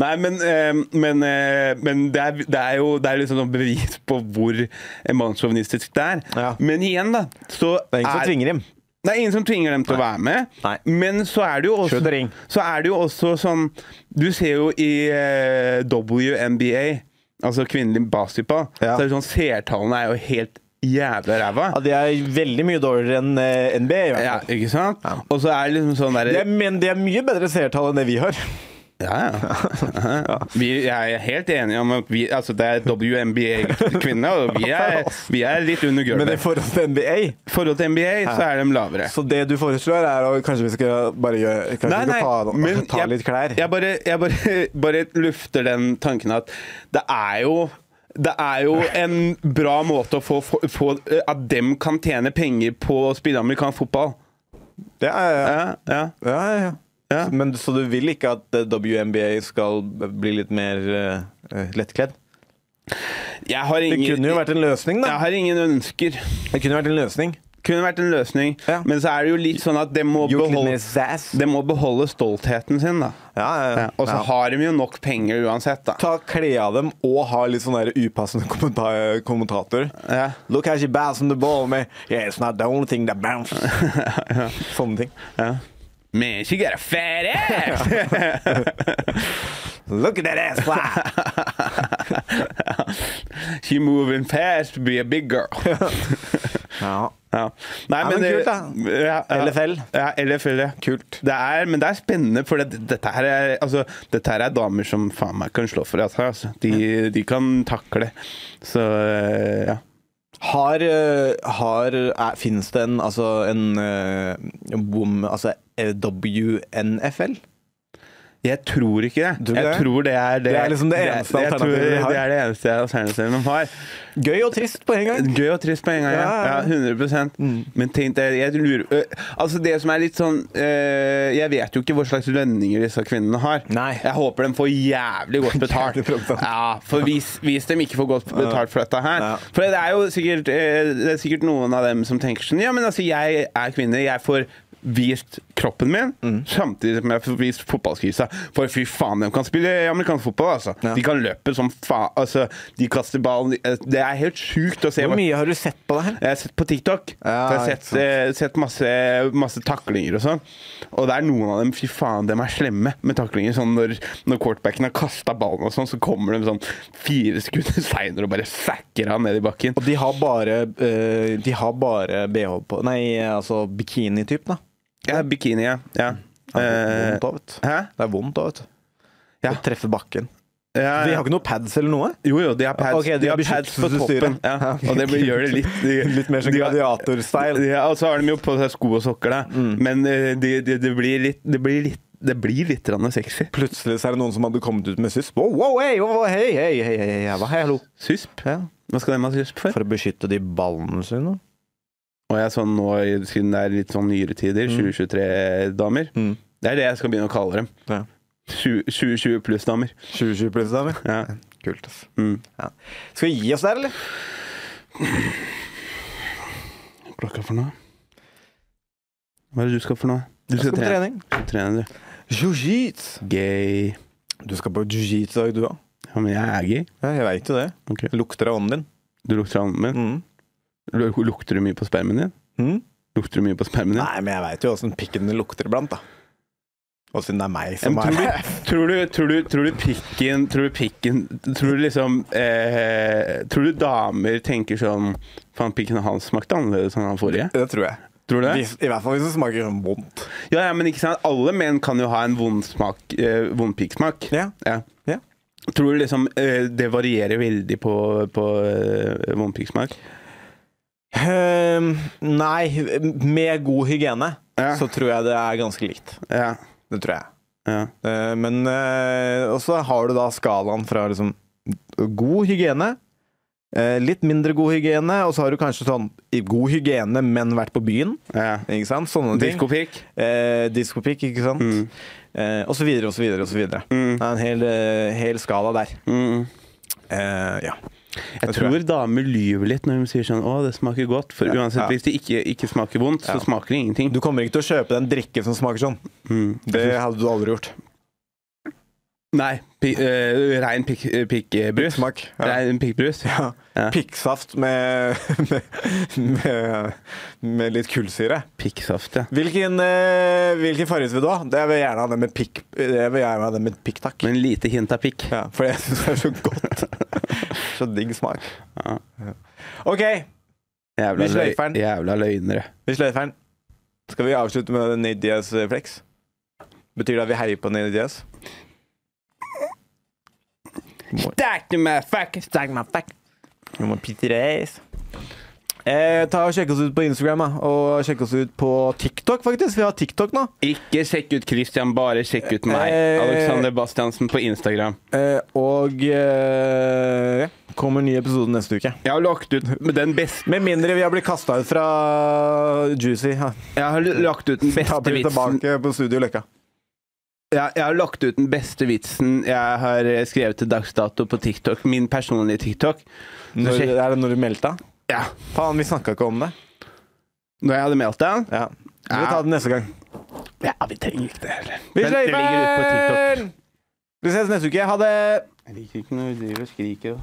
Nei, men, eh, men, eh, men det, er, det er jo det er liksom noe bevis på hvor mannssjåvinistisk det er. Ja. Men igjen, da. Så Det er ingen som tvinger dem. Det er ingen som tvinger dem til å være med. Nei. Men så er det jo også, Skjøt og ring. så er det jo også sånn Du ser jo i eh, WNBA, altså kvinnelig basketball, Ja. så er det sånn seertallene er jo helt jævla ræva. Ja, de er veldig mye dårligere enn eh, NBA. I hvert Ja, fall. ikke sant? Ja. Og så er det liksom sånn De derre er, men de er mye bedre seertall enn det vi har. Ja, ja. Vi, jeg er helt enig om at vi, altså det er WNBA-kvinner, og vi er, vi er litt under Men i gulvet. forhold til NBA I forhold til NBA så er de lavere. Så det du foreslår, er å kanskje vi skal bare gjøre Kanskje vi skal ta, men ta litt klær? Jeg bare, jeg bare, bare lufter den tanken at det er jo det er jo en bra måte å få, få, få eh, At dem kan tjene penger på å spille amerikansk fotball. Det er, Ja, ja. ja, ja, ja. Ja. Men, så du vil ikke at eh, WNBA skal bli litt mer eh, eh, lettkledd? Jeg har Det ingen, kunne jo vært en løsning, Jeg da. har ingen ønsker. Det kunne vært en løsning. Kunne vært en løsning. Ja. Men så er det jo litt sånn at dem må, Gjort litt beholde, mer sass. dem må beholde stoltheten sin, da. Ja, ja, ja. Ja, Og så Ja. har de jo nok penger uansett, da. Ta kle av dem og ha litt sånn der upassende kommenta- kommentator. Ja. Look how she bouncing the ball med Yeah, it's not the only thing that bounces. Sånne ting. Man, she got a fat ass! Look at that ass fly! She moving fast to be a big girl. ja. Ja. Nei, Ja, men, men det- kult, da. Ja, ja. LFL. Ja, LFL, ja. Kult. Det er, men det er spennende, for det, dette, her er, altså, dette her er damer som faen meg kan slå for deg. Altså. De, de kan takle. Så eh, ja. Har, eh, har er, Finnes det en, altså, en eh, bom, altså eh, WNFL? Jeg tror ikke det. Tror du jeg det? tror det er det, Det er liksom det eneste jeg tror alternativet de har. Det er det eneste alternativet de har. Gøy og trist på en gang. Gøy og trist på en gang, ja. Ja, Mm. ja, ja ja. 100 Men tenk deg, jeg lurer ø, Altså, det som er litt sånn ø, Jeg vet jo ikke hva slags lønninger disse kvinnene har. Nei. Jeg håper de får jævlig godt betalt. Jævlig bra betalt. ja, for hvis, hvis de ikke får godt betalt for dette her Ja. For det er jo sikkert, ø, det er sikkert noen av dem som tenker sånn Ja, men altså, jeg er kvinne. Jeg får vist kroppen min, Mm. samtidig som jeg får vist fotballskrisa. For fy faen, de kan spille amerikansk fotball, altså. Ja. De kan løpe som faen. Altså, de kaster ballen eh, Det er helt sjukt å se Hvor hva- mye har du sett på det her? jeg har sett på TikTok. Ja, så jeg har ikke sett, sant. eh, sett masse, masse taklinger og sånn. Og det er noen av dem Fy faen, dem er slemme med taklinger. Sånn når, når quarterbacken har kasta ballen og sånn, så kommer de sånn fire sekunder seinere og bare sacker han ned i bakken. Og de har bare, eh, de har bare BH på Nei, altså bikini-type, da. Ja, bikini, ja. ja. Det er Eh, vondt da, vet du. Hæ? Det er vondt da, vet du. Ja. Å treffe bakken. Ja, De ja. har ikke noe pads eller noe? Jo, jo, de har pads, Ok, de de har har pads på beskyttelsesutstyr, toppen. ja. Ja. Og det blir- gjør det litt de- Litt mer sånn de har- gladiator-style. Mm. Ja, og så har de jo på seg sko og sokker, da. Men eh, de- de- det blir litt Det blir litt, det blir litt grann sexy. Plutselig så er det noen som hadde kommet ut med sysp. Wow, wow, hei, wow, hei, hei, hei, hei, hei, hei, hallo. Sysp? Ja. Hva skal de ha sysp for? For å beskytte de ballene sine. Og jeg er sånn nå i siden det er litt sånn nyere tider, 2023-damer. Det er det jeg skal begynne å kalle dem. Ja. 2020 pluss-damer. 2020 pluss, da, eller? Mm. Ja. Kult, ass. Ja. Skal vi gi oss der, eller? Klokka for noe? Hva er det du skal for noe? Du Jeg skal på trening. Du trener, du. Jiu-jitsu. Gay. Du skal på jiu-jitsu i dag, du òg. Ja, men jeg er gay. Ja, jeg veit jo det. Ok. Lukter av ånden din. Du lukter hånden min. Mm. Lu- Lukter du mye på spermen din? Mm. Lukter du mye på spermen din? Nei, men jeg veit jo åssen pikken din lukter iblant, da. Og siden det er meg som Men er tror du, tror, du, tror, du, tror du pikken Tror du pikken Tror du liksom eh, Tror du damer tenker sånn Faen, pikken hans smakte annerledes enn han forrige. Det tror jeg. Tror du det? Hvis, I hvert fall hvis det smaker sånn vondt. Ja, ja, men ikke sant Alle menn kan jo ha en vond smak eh, Vond pikksmak Ja. Ja. Tror du liksom eh, det varierer veldig på, på eh, vond pikksmak? Ehm, nei, med god hygiene Ja. så tror jeg det er ganske likt. Ja, Det tror jeg. ja, Eh, men uh, også har du da skalaen fra liksom god hygiene eh, litt mindre god hygiene, og så har du kanskje sånn i god hygiene, men vært på byen. ja. Ikke sant? Sånne ting. Diskopikk? Eh, Diskopikk, ikke sant? Mm. Eh, og så videre, og så videre, og så videre. Mm. Det er en hel, eh, hel skala der. Mm. Eh, ja. Jeg Det tror tror damer lyver litt når de sier sånn Å, det smaker godt. For uansett, Ja. hvis det ikke, ikke smaker vondt, Ja. så smaker det ingenting. Du kommer ikke til å kjøpe den drikken som smaker sånn. Mm. Det hadde du aldri gjort. Nei. Pi, eh, rein pikk- eh, pikkbrus. Smak. Ja. Rein pikkbrus. Ja. Ja. Pikksaft med, med, med, med litt kullsyre. Pikksaft, ja. Hvilken, eh, hvilken farge vil du ha? Det vil jeg gjerne ha den med pikk. Jeg vil gjerne ha den med pikk, takk. Men lite hint av pikk. Ja, for jeg syns det er så godt. så digg smak. Ja. Ja. OK, Jævla, Vi løy, sløyfer den. jævla løgnere. vi sløyfer den. Skal vi avslutte med Nate Diaz eh, flex? Betyr det at vi heier på Nate Diaz? Stack my fuck, stack my fuck. Vi må pitte reis. Eh, ta og Sjekk oss ut på Instagram da. og sjekk oss ut på TikTok, faktisk. Vi har TikTok nå. Ikke sjekk ut Christian, bare sjekk ut meg. Eh. Alexander Bastiansen på Instagram. Eh, og eh, ja, kommer ny episode neste uke. Jeg har lagt ut den beste Med mindre vi har blitt kasta ut fra Juicy. Ja. Jeg har lagt ut den Da beste blir vi vitsen tilbake på Studio Løkka. jeg, jeg har lagt ut den beste vitsen jeg har eh, skrevet til dags dato på TikTok. Min personlige TikTok. Når, sjekk- er det når du meldte? Ja. Faen, vi snakka ikke om det. Når jeg hadde meltdown Ja. Vi får ta det neste gang. Ja, vi trenger ikke det heller. Vi Den- den ligger ute på TikTok. sløyfer! Vi ses neste uke. Ha det! Jeg liker ikke når du driver og skriker og